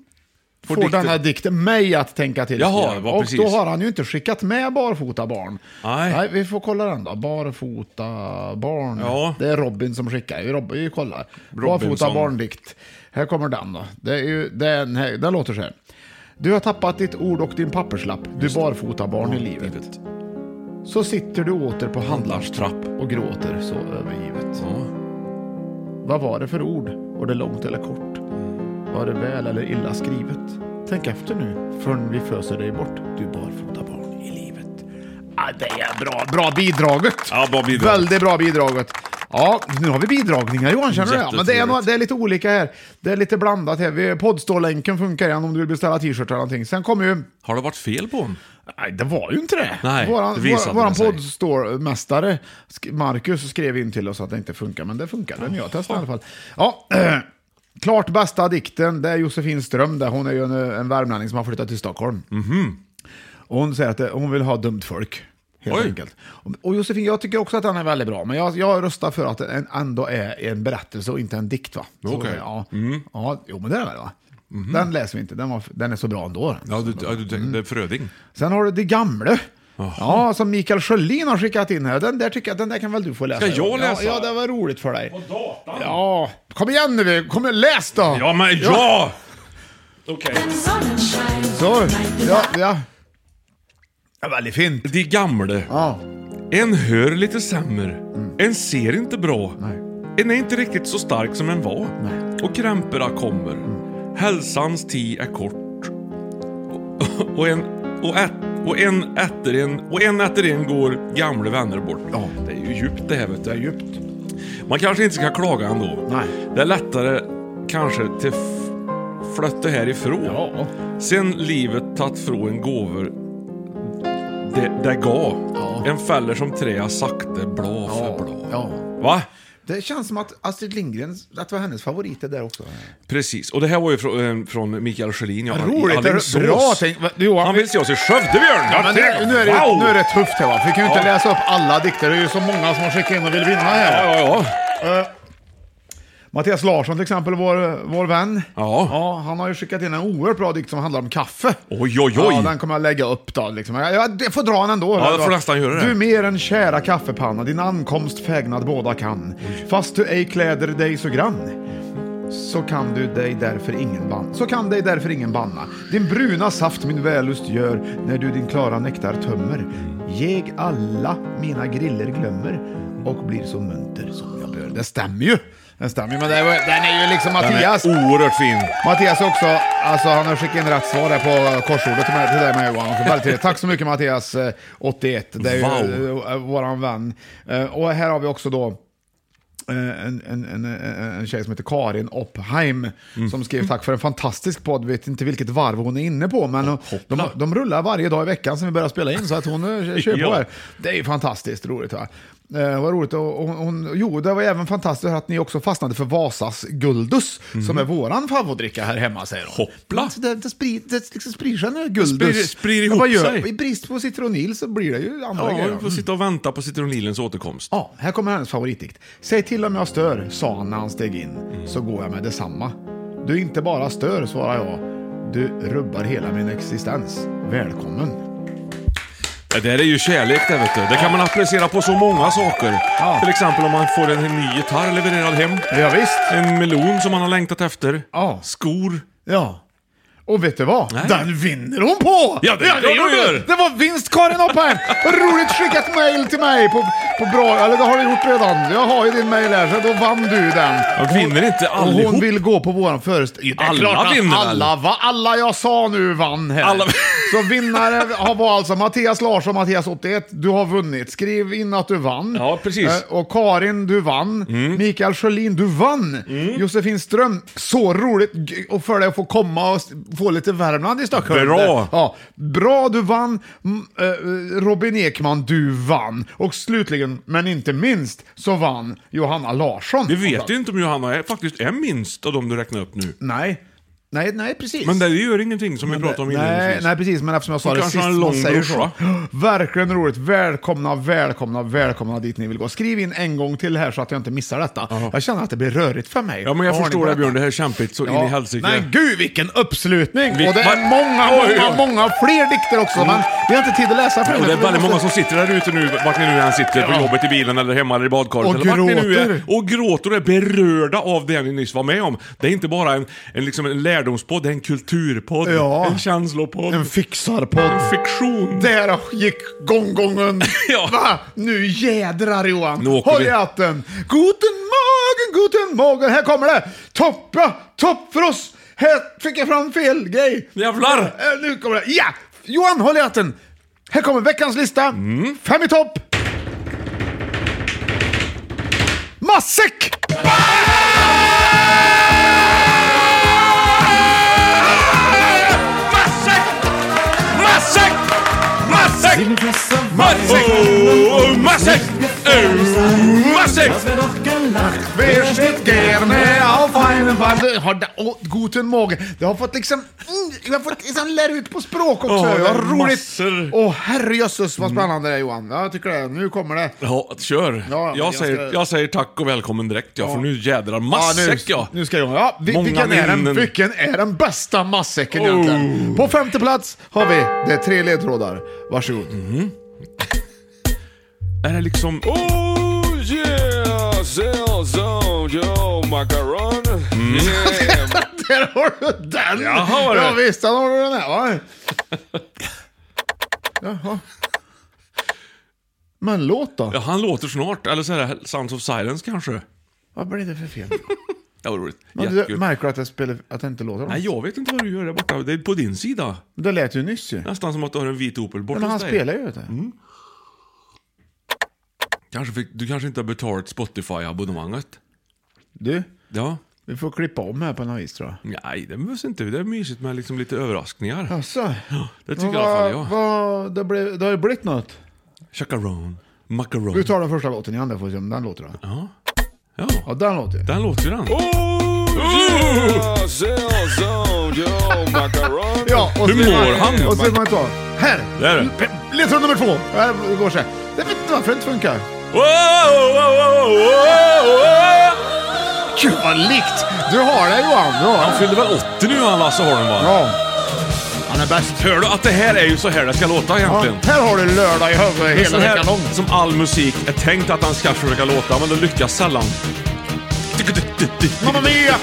Speaker 3: Får,
Speaker 1: dikten-
Speaker 3: denna dikten mig att tänka till.
Speaker 1: Jaha,
Speaker 3: skriver han.
Speaker 1: vad
Speaker 3: Och
Speaker 1: precis.
Speaker 3: då har han ju inte skickat med barfota barn.
Speaker 1: Nej.
Speaker 3: vi får kolla den då. Barfota barn.
Speaker 1: Ja.
Speaker 3: Det är Robin som skickar. Vi, Rob- vi kollar.
Speaker 1: Robinson.
Speaker 3: Barfota barndikt. Här kommer den då. Det är ju, den, här, den låter så här. Du har tappat ditt ord och din papperslapp. Du barfota barn i livet. Så sitter du åter på handlarns trapp och gråter så övergivet. Vad var det för ord? Var det långt eller kort?
Speaker 1: Mm.
Speaker 3: Var det väl eller illa skrivet? Tänk efter nu, förrän vi föser dig bort, du barfota barn i livet. Ah, det är bra, bra bidraget!
Speaker 1: Ja, bra bidrag.
Speaker 3: Väldigt bra bidraget. Ja, nu har vi bidragningar Johan, känner du det? Men det är,
Speaker 1: Jättetrevligt.
Speaker 3: några, det är lite olika här. Det är lite blandat här. Vi- Poddstålänken funkar igen om du vill beställa t-shirt eller någonting. Sen kommer ju...
Speaker 1: Har det varit fel på honom?
Speaker 3: Nej, det var ju inte det.
Speaker 1: Nej,
Speaker 3: våran
Speaker 1: det visade
Speaker 3: vår, våran
Speaker 1: det sig.
Speaker 3: poddstore-mästare sk- Marcus skrev in till oss att det inte funkar, men det funkade när jag testade i alla fall. Ja, klart bästa dikten, det är Josefin Ström där. Hon är ju
Speaker 1: Mhm.
Speaker 3: eh, en, en värmlänning som har flyttat till Stockholm. Och hon säger att det, hon vill ha dumt folk. Helt
Speaker 1: Oj.
Speaker 3: enkelt. Och Josefin, jag tycker också att den är väldigt bra, men jag, jag röstar för att den ändå är en berättelse och inte en dikt. va? Så,
Speaker 1: Okej. Mm. Mhm.
Speaker 3: Ja, ja, jo, men det är det va? Den läser vi inte, den, var, den är så bra ändå. Den.
Speaker 1: Ja, du, ja, du, det är Fröding.
Speaker 3: Sen har du Det gamla. Ja, som Mikael Sjölin har skickat in här. Den där tycker jag, den där kan väl du få läsa?
Speaker 1: Ska jag
Speaker 3: Johan?
Speaker 1: läsa?
Speaker 3: Ja, ja, det var roligt för dig. Ja, kom igen nu, kom igen, läs då!
Speaker 1: Ja, men ja! Okej.
Speaker 3: Så, ja, ja. ja väldigt fint.
Speaker 1: De gamle.
Speaker 3: Ja.
Speaker 1: En hör lite sämre. En ser inte bra.
Speaker 3: Mm. Nej.
Speaker 1: En är inte riktigt så stark som en var.
Speaker 3: Nej. Mm.
Speaker 1: Och krämporna kommer. Hälsans tid är kort. Och- Och en, och, ät, och en efter en, och en efter en går gamla vänner bort.
Speaker 3: Ja.
Speaker 1: Det är ju djupt det här vet du.
Speaker 3: Det är djupt.
Speaker 1: Man kanske inte ska klaga ändå.
Speaker 3: Nej.
Speaker 1: Det är lättare kanske till f- flötte härifrån.
Speaker 3: Ja.
Speaker 1: Sen livet tagit från gåvor det, det gav.
Speaker 3: Ja.
Speaker 1: En fäller som träa sakte blå för blå.
Speaker 3: ja.
Speaker 1: Va?
Speaker 3: Det känns som att Astrid Lindgren, att det var hennes favorit det där också.
Speaker 1: Precis. Och det här var ju från, eh, från Mikael Schelin. Ja, han- i
Speaker 3: Roligt, det
Speaker 1: Alingsås.
Speaker 3: är bra tänkt. Va- Johan,
Speaker 1: Han vill se oss i Skövde, Björn!
Speaker 3: Ja, men nu, nu, är det,
Speaker 1: wow!
Speaker 3: nu är det tufft här va, för vi kan ju inte
Speaker 1: Ja.
Speaker 3: läsa upp alla dikter. Det är ju så många som har skickat in och vill vinna här.
Speaker 1: Ja, ja,
Speaker 3: Mattias Larsson till exempel, vår, vår vän.
Speaker 1: Ja.
Speaker 3: Han har ju skickat in en oerhört bra dikt som handlar om kaffe.
Speaker 1: Oj, oj, oj.
Speaker 3: Ja, den kommer jag lägga upp då. Liksom. Jag, jag, jag får dra den ändå.
Speaker 1: Ja, det får nästan göra det.
Speaker 3: Du mer än kära kaffepanna, din ankomst fägnad båda kan. Fast du ej kläder dig så grann. Så kan du dig därför ingen banna. Så kan dig därför ingen banna. Din bruna saft min vällust gör när du din klara nektar tömmer. Jeg alla mina griller glömmer och blir så munter som jag bör. Det stämmer ju. Den stämmer ju, men det, var- den är ju liksom
Speaker 1: Den är
Speaker 3: Mattias.
Speaker 1: oerhört fin.
Speaker 3: Mattias också, alltså han har skickat in rätt svar här på korsordet till, mig, till dig med Johan. också. Väldigt trevligt. Tack så mycket Mattias, eh, 81. Det är ju
Speaker 1: Wow.
Speaker 3: eh, eh, våran vän. Eh, Och här har vi också då eh, en, en, en, eh, en- en tjej som heter Karin Oppheim
Speaker 1: Mm.
Speaker 3: som skrev tack för en fantastisk podd. Vet inte vilket varv hon är inne på, men hon- de, de rullar varje dag i veckan sen vi börjar spela in så att hon eh, kör på
Speaker 1: Ja.
Speaker 3: här. Det är ju fantastiskt roligt. Va? Eh, vad roligt. Och, och, hon, jo, det var även fantastiskt att ni också fastnade för Vasas Guldus, som är våran favoritdricka här hemma, säger hon.
Speaker 1: Mhm. Hoppla.
Speaker 3: Så det, det, sprid, det liksom sprider sig nu, Guldus.
Speaker 1: Sprid- sprid ihop
Speaker 3: Ja, vad gör,
Speaker 1: sig.
Speaker 3: I brist på citronil så blir det ju andra
Speaker 1: Ja,
Speaker 3: grejer.
Speaker 1: vi får sitta och vänta på citronilens återkomst.
Speaker 3: Ja, här kommer hennes favoritdikt. Säg till om jag stör, sa han när han steg in,
Speaker 1: Mm.
Speaker 3: så går jag med detsamma. Du inte bara stör, svarar jag. Du rubbar hela min existens. Välkommen.
Speaker 1: Det där är ju kärlek det vet du. Det kan man applicera på så många saker.
Speaker 3: Ja.
Speaker 1: Till exempel om man får en ny gitarr levererad hem.
Speaker 3: Ja, visst.
Speaker 1: En melon som man har längtat efter.
Speaker 3: Ja.
Speaker 1: Skor.
Speaker 3: Ja. Och vet du vad?
Speaker 1: Nej.
Speaker 3: Den vinner hon på!
Speaker 1: Ja, det är klart hon
Speaker 3: gjorde
Speaker 1: gör.
Speaker 3: du. Det var vinst Karin Oppheim! Vad roligt skickat mail till mig på, på bra... Eller det har du gjort redan. Jag har ju din mail här, så då vann du den.
Speaker 1: Jag vinner inte
Speaker 3: Och
Speaker 1: allihop.
Speaker 3: hon vill gå på våran föreställning. Det är
Speaker 1: Alla
Speaker 3: klart att
Speaker 1: vinner väl?
Speaker 3: alla, va, alla jag sa nu vann här.
Speaker 1: Alla-
Speaker 3: Så vinnare har var alltså Mattias Larsson, Mattias 81. Du har vunnit. Skriv in att du vann.
Speaker 1: Ja, precis. Mm.
Speaker 3: Eh, Och Karin, du vann. Mikael Sjölin, du vann. Josefin Ström, så roligt g- och för dig att få komma och s- få lite Värmland i Stockholm.
Speaker 1: Bra.
Speaker 3: Ja, bra, du vann. Mm, eh, Robin Ekman, du vann. Och slutligen, men inte minst, så vann Johanna Larsson.
Speaker 1: Vi vet ju inte om Johanna är, faktiskt är minst av de du räknar upp nu.
Speaker 3: Alltså. Nej. Nej, nej precis.
Speaker 1: Men det gör ingenting som vi pratade om
Speaker 3: nej,
Speaker 1: inledningsvis.
Speaker 3: nej, precis. Men eftersom jag sa
Speaker 1: Hon
Speaker 3: det
Speaker 1: kanske
Speaker 3: sist,
Speaker 1: har en
Speaker 3: man
Speaker 1: lång
Speaker 3: säger
Speaker 1: brorsa.
Speaker 3: så. Verkligen roligt. Välkomna, välkomna, välkomna dit ni vill gå. Skriv in en gång till här så att jag inte missar detta. Jag känner att det blir rörigt för mig.
Speaker 1: Ja, men jag
Speaker 3: Vad har ni
Speaker 1: förstår
Speaker 3: på
Speaker 1: det Björn. Det
Speaker 3: detta?
Speaker 1: här är kämpigt så in i helsike.
Speaker 3: Men gud vilken uppslutning!
Speaker 1: Vi-
Speaker 3: och det
Speaker 1: va-
Speaker 3: är många,
Speaker 1: Oj, oj.
Speaker 3: många, många fler dikter också. Men vi har inte tid att läsa för
Speaker 1: Och det är
Speaker 3: för vi
Speaker 1: väldigt många
Speaker 3: måste-
Speaker 1: som sitter där ute nu, vart ni nu än sitter, på jobbet, i bilen eller hemma eller i badkaret.
Speaker 3: Och
Speaker 1: eller vart Ni nu är,
Speaker 3: gråter.
Speaker 1: och gråter och är berörda av det ni nyss var med om. Det är inte bara en, en, liksom en lärdomspodd, det är en kulturpodd,
Speaker 3: Ja.
Speaker 1: en känslopodd,
Speaker 3: En
Speaker 1: en
Speaker 3: fixarpodd.
Speaker 1: fiktion.
Speaker 3: Där gick gonggongen.
Speaker 1: Ja.
Speaker 3: Va? Nu jädrar Johan.
Speaker 1: Nu åker
Speaker 3: Håll
Speaker 1: vi.
Speaker 3: i hatten. Guten Morgen, guten Morgen. Här kommer det. Toppa, toppfrost. Här fick jag fram fel grej.
Speaker 1: Jävlar!
Speaker 3: Eh, Nu kommer det. Ja! Johan, håll i hatten. Här kommer veckans lista. Fem i topp. Matsäck!
Speaker 1: Massack! Massack! Massack! Massack! Oh, Massack! Oh, Massack!
Speaker 3: Wir steht gerne auf ein. Varför har det- åh, Guten Morgen. Det har fått liksom... mm, Jag har fått liksom lära ut på språk också.
Speaker 1: Ja,
Speaker 3: ja, roligt.
Speaker 1: massor. Mm.
Speaker 3: Åh herrejösses vad spännande det är Johan. Ja, jag tycker det. Nu kommer det.
Speaker 1: Ja, kör.
Speaker 3: Ja, men
Speaker 1: jag,
Speaker 3: jag
Speaker 1: säger,
Speaker 3: ska-
Speaker 1: jag säger tack och välkommen direkt, ja, för nu jädrar massäck
Speaker 3: nu,
Speaker 1: ja.
Speaker 3: nu ska jag. Ja, vi,
Speaker 1: Många
Speaker 3: vilken, är den,
Speaker 1: minnen. Oh.
Speaker 3: vilken är den bästa matsäcken egentligen? På femte plats har vi, det är tre ledtrådar. Varsågod.
Speaker 1: Mm. Är det liksom...
Speaker 6: Oh yeah, sell some Joe macaron. Yeah,
Speaker 3: Där har du den!
Speaker 1: Jaha, var det.
Speaker 3: Ja, visst, där har du den här va? Jaha. Men låt då.
Speaker 1: Ja, han låter snart. Eller så är det Sounds of Silence kanske.
Speaker 3: Vad blir det för fel?
Speaker 1: Ja, vad roligt.
Speaker 3: Men du,
Speaker 1: Jättekul.
Speaker 3: märker du att jag, spelar, att jag inte låter dem?
Speaker 1: Nej, jag vet inte vad du gör där borta. Det är på din sida.
Speaker 3: Det lät ju nyss ju.
Speaker 1: Nästan som att du har en vit Opel borta
Speaker 3: Men han
Speaker 1: hos dig.
Speaker 3: spelar ju vet du.
Speaker 1: Mm. Kanske fick, du kanske inte har betalt Spotify-abonnemanget?
Speaker 3: Du,
Speaker 1: Ja.
Speaker 3: vi får klippa om här på något vis tror jag.
Speaker 1: Nej, det behövs inte. Det är mysigt med liksom lite överraskningar.
Speaker 3: Jaså?
Speaker 1: Det tycker i alla fall jag.
Speaker 3: Vad, det, blev, det har ju blivit något.
Speaker 1: Chacaron, macaron.
Speaker 3: Vi tar den första låten igen där får vi se om den låter då. Ja,
Speaker 1: Ja,
Speaker 3: den låter ju.
Speaker 1: den låter ju den.
Speaker 6: yeah, sell some Joe macaron.
Speaker 3: Ja, och
Speaker 1: Hur
Speaker 3: så vill
Speaker 1: mår
Speaker 3: man-
Speaker 1: han?
Speaker 3: Och så vill man ta. Här!
Speaker 1: Där är den.
Speaker 3: Pe- Ledtråd nummer två. Här går så här. Jag vet inte varför det inte funkar.
Speaker 1: Wow, wow, wow, wow, wow.
Speaker 3: Gud vad likt! Du har det Johan, du har
Speaker 1: Han
Speaker 3: det.
Speaker 1: fyllde väl 80 nu han Lasse Holm va?
Speaker 3: Ja. Han är bäst.
Speaker 1: Hör du att det här är ju så här det ska låta
Speaker 3: Ja,
Speaker 1: egentligen?
Speaker 3: här har du lördag i huvudet
Speaker 1: Så
Speaker 3: hela
Speaker 1: här,
Speaker 3: veckan lång.
Speaker 1: som all musik är tänkt att han ska försöka låta, men det lyckas sällan.
Speaker 3: Mamma mia!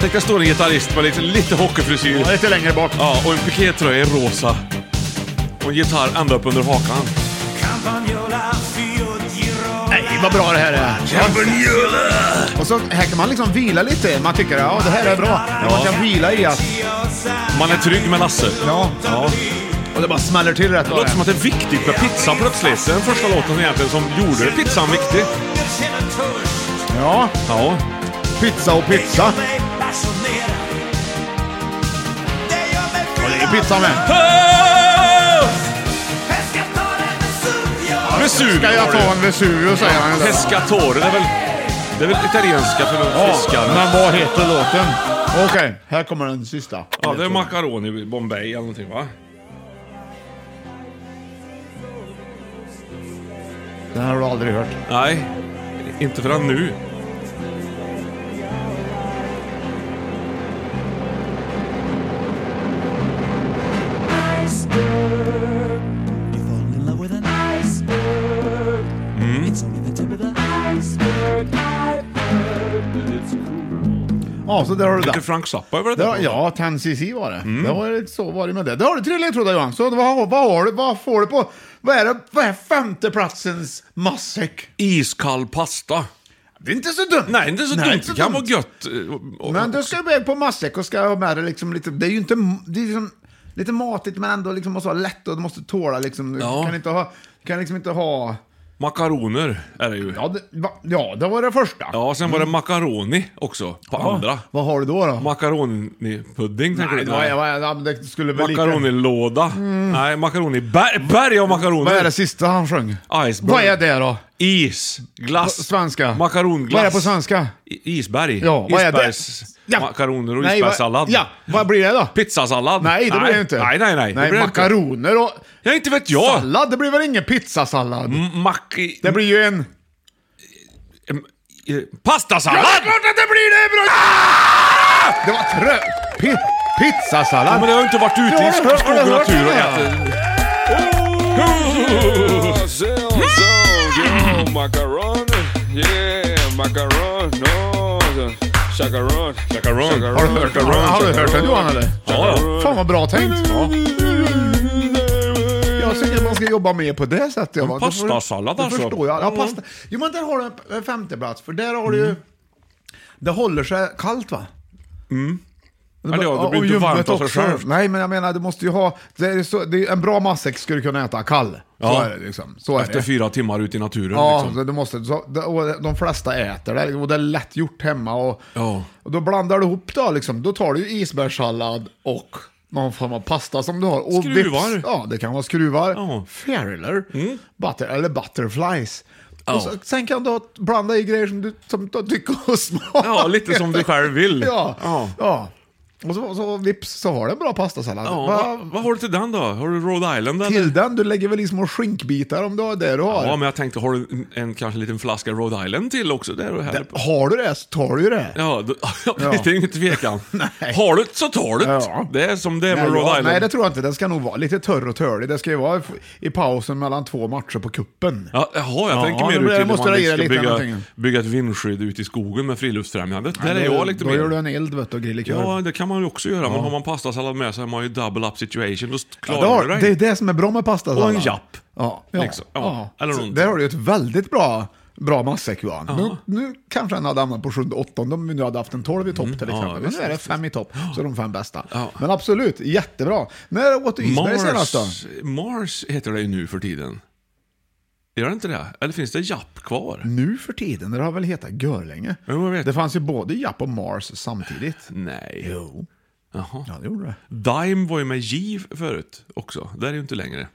Speaker 1: Tänk att står en gitarrist med lite, lite hockeyfrisyr.
Speaker 3: Ja, Lite längre bort.
Speaker 1: Ja, och en pikétröja i rosa. Och en gitarr ända upp under hakan.
Speaker 3: Nej, vad bra det här är. Och så här kan man liksom vila lite. Man tycker ja, det här är bra. Men Man kan vila i alltså. att...
Speaker 1: Man är trygg med Lasse.
Speaker 3: Ja.
Speaker 1: Ja.
Speaker 3: Och det bara smäller till rätt
Speaker 1: Det låter som att det är viktigt med pizza plötsligt. Det är den första låten egentligen som gjorde pizzan viktig.
Speaker 3: Ja.
Speaker 1: Ja.
Speaker 3: Pizza och pizza. Och det är pizza med.
Speaker 1: Vesuvio
Speaker 3: Ska jag
Speaker 1: var det.
Speaker 3: ta en Vesuvio säger han. ju där.
Speaker 1: Pescatore, det är väl... Det är väl italienska för fiskar?
Speaker 3: Men vad heter låten? Okej, här kommer den sista.
Speaker 1: Ja, det är macaroni Bombay eller någonting va?
Speaker 3: Den här har du aldrig hört.
Speaker 1: Nej, inte förrän nu.
Speaker 3: Ja, så där har du
Speaker 1: Lite
Speaker 3: den.
Speaker 1: Frank Zappa över det
Speaker 3: Det har,
Speaker 1: där.
Speaker 3: ja, 10cc var det. Det var lite så var det med det. Det har du tre ledtrådar Johan. Så vad, vad, har du, vad får du på... Vad är, det, vad är femteplatsens matsäck?
Speaker 1: Iskall pasta.
Speaker 3: Det är inte så dumt.
Speaker 1: Nej, inte så dumt.
Speaker 3: inte
Speaker 1: Det kan
Speaker 3: dumt.
Speaker 1: vara gött. eh, och-
Speaker 3: Men du ska iväg på matsäck och ska ha med dig liksom lite... Det är ju inte... Det är liksom, lite matigt men ändå liksom måste vara lätt och du måste tåla liksom. Du
Speaker 1: Ja.
Speaker 3: kan inte ha... Du kan liksom inte ha...
Speaker 1: Makaroner är det ju.
Speaker 3: Ja det, va, ja, det var det första.
Speaker 1: Ja, sen var det macaroni också på andra.
Speaker 3: Vad har du då? då?
Speaker 1: Macaroni-pudding tänker
Speaker 3: Nej,
Speaker 1: du?
Speaker 3: det, var, det, var, ja, men det skulle väl lika...
Speaker 1: Makaronilåda. Nej, makaroni. Berg, berg av makaroner.
Speaker 3: Vad är det sista han sjöng?
Speaker 1: Iceberg.
Speaker 3: Vad är det då?
Speaker 1: Is. Glass.
Speaker 3: På svenska.
Speaker 1: Makaronglass.
Speaker 3: Vad är det på svenska?
Speaker 1: I- Isberg.
Speaker 3: Ja, vad är det?
Speaker 1: Isbergs- Makaroner och isbergssallad.
Speaker 3: Vad, ja, vad blir det då?
Speaker 1: Pizzasallad.
Speaker 3: Nej, det blir det inte.
Speaker 1: Nej, nej, nej. det
Speaker 3: nej
Speaker 1: blir det Inte.
Speaker 3: makaroner och
Speaker 1: Ja, inte vet jag.
Speaker 3: sallad, det blir väl ingen pizzasallad?
Speaker 1: Mm. Mack...
Speaker 3: Det blir ju en...
Speaker 1: eh, Pastasallad!
Speaker 3: att det blir det! Bro! Det var trö... Pi,
Speaker 1: Ja,
Speaker 3: pizzasallad?
Speaker 1: men jag har ju inte varit ute
Speaker 3: Ja,
Speaker 1: i
Speaker 3: det har-
Speaker 1: skog
Speaker 3: har
Speaker 1: och
Speaker 3: du hört
Speaker 1: natur och
Speaker 3: det här?
Speaker 1: ätit.
Speaker 6: Yeah, sell some Joe macaron. Yeah, macaron. No, chacaron.
Speaker 1: Macaron.
Speaker 3: Har du hört den? Har du hört den Johan eller?
Speaker 1: Ja,
Speaker 3: Fan vad bra tänkt. Jag tycker man ska jobba mer på det sättet. Johan. Då får du-
Speaker 1: pastasallad
Speaker 3: då
Speaker 1: alltså.
Speaker 3: förstår jag. Ja,
Speaker 1: Mm.
Speaker 3: pasta. Jo men där har du en- en femteplats, för där har du ju... Det håller sig kallt va?
Speaker 1: Ja, det, det
Speaker 3: och
Speaker 1: blir inte varmt
Speaker 3: ljummet
Speaker 1: av sig
Speaker 3: också.
Speaker 1: självt.
Speaker 3: Nej, men jag menar, du måste ju ha... Det är så, det är en bra matsäck ska du kunna äta kall. Så
Speaker 1: Ja.
Speaker 3: är det liksom. Så är
Speaker 1: Efter
Speaker 3: det.
Speaker 1: fyra timmar ute i naturen
Speaker 3: Ja,
Speaker 1: liksom.
Speaker 3: så du måste, så, det- och de flesta äter det liksom. och det är lätt gjort hemma. Och,
Speaker 1: Ja.
Speaker 3: och då blandar du ihop det liksom. Då tar du ju isbärssallad och någon form av pasta som du har. Och
Speaker 1: Skruvar.
Speaker 3: Vips, ja, det kan vara skruvar.
Speaker 1: Ja. Mm.
Speaker 3: Färilar. Butter, eller butterflies.
Speaker 1: Ja.
Speaker 3: Och så, sen kan du ha- blanda i grejer som du, som du tycker och smak.
Speaker 1: Ja, lite som du själv vill.
Speaker 3: Ja.
Speaker 1: Ja.
Speaker 3: ja. Och så, så vips så har du en bra pastasallad.
Speaker 1: Ja,
Speaker 3: Va-
Speaker 1: vad, vad har du till den då? Har du Rhode Island eller?
Speaker 3: Till den, du lägger väl i små skinkbitar om du har det du har.
Speaker 1: Ja, men jag tänkte, har du en, en kanske liten flaska Rhode Island till också? Där och här. på?
Speaker 3: Har du det så tar du ju det.
Speaker 1: Ja, då, det är ingen tvekan.
Speaker 3: Nej.
Speaker 1: Har du det så tar du det.
Speaker 3: Ja.
Speaker 1: Det är som det är med
Speaker 3: Nej,
Speaker 1: Rhode
Speaker 3: ja,
Speaker 1: Island.
Speaker 3: nej, det tror jag inte. Den ska nog vara lite törr och törlig. Det ska ju vara f- i pausen mellan två matcher på kuppen.
Speaker 1: Ja, jaha, jag
Speaker 3: Ja,
Speaker 1: tänker
Speaker 3: ja,
Speaker 1: mer
Speaker 3: det blir-
Speaker 1: ut till
Speaker 3: måste
Speaker 1: om man
Speaker 3: jag ge
Speaker 1: ska
Speaker 3: lite
Speaker 1: bygga,
Speaker 3: någonting.
Speaker 1: bygga ett vindskydd ute i skogen med Friluftsfrämjandet. Där är
Speaker 3: Då-
Speaker 1: jag lite
Speaker 3: Då gör du
Speaker 1: mer.
Speaker 3: en eld vet du, och grillkör.
Speaker 1: Ja, det kan man ju också göra. Men har man pastasallad med så är man ju double up situation. Då klarar
Speaker 3: det,
Speaker 1: du
Speaker 3: har,
Speaker 1: dig.
Speaker 3: det är det som är bra med pastasallad.
Speaker 1: Och en japp.
Speaker 3: Ja,
Speaker 1: Liksom. Ja, eller
Speaker 3: Så
Speaker 1: någonting.
Speaker 3: Där har du ju ett väldigt bra, bra matsäck Johan. Nu, nu kanske den hade hamnat på sjunde, åttonde om vi nu hade haft en tolv i topp
Speaker 1: Mm.
Speaker 3: till exempel. men nu är det fem i topp, så de fem bästa. Men absolut, jättebra. När åt du isberg senast då?
Speaker 1: Mars, Mars heter det ju nu för tiden. Gör det inte det? Eller finns det japp kvar?
Speaker 3: Nu för tiden, det har väl hetat görlänge.
Speaker 1: Jo, jag vet.
Speaker 3: Mm. Det fanns ju både Japp och Mars samtidigt.
Speaker 1: Nej.
Speaker 3: Jo.
Speaker 1: Jaha.
Speaker 3: Ja, det gjorde det.
Speaker 1: Dime var ju med J förut också. Där är ju inte längre.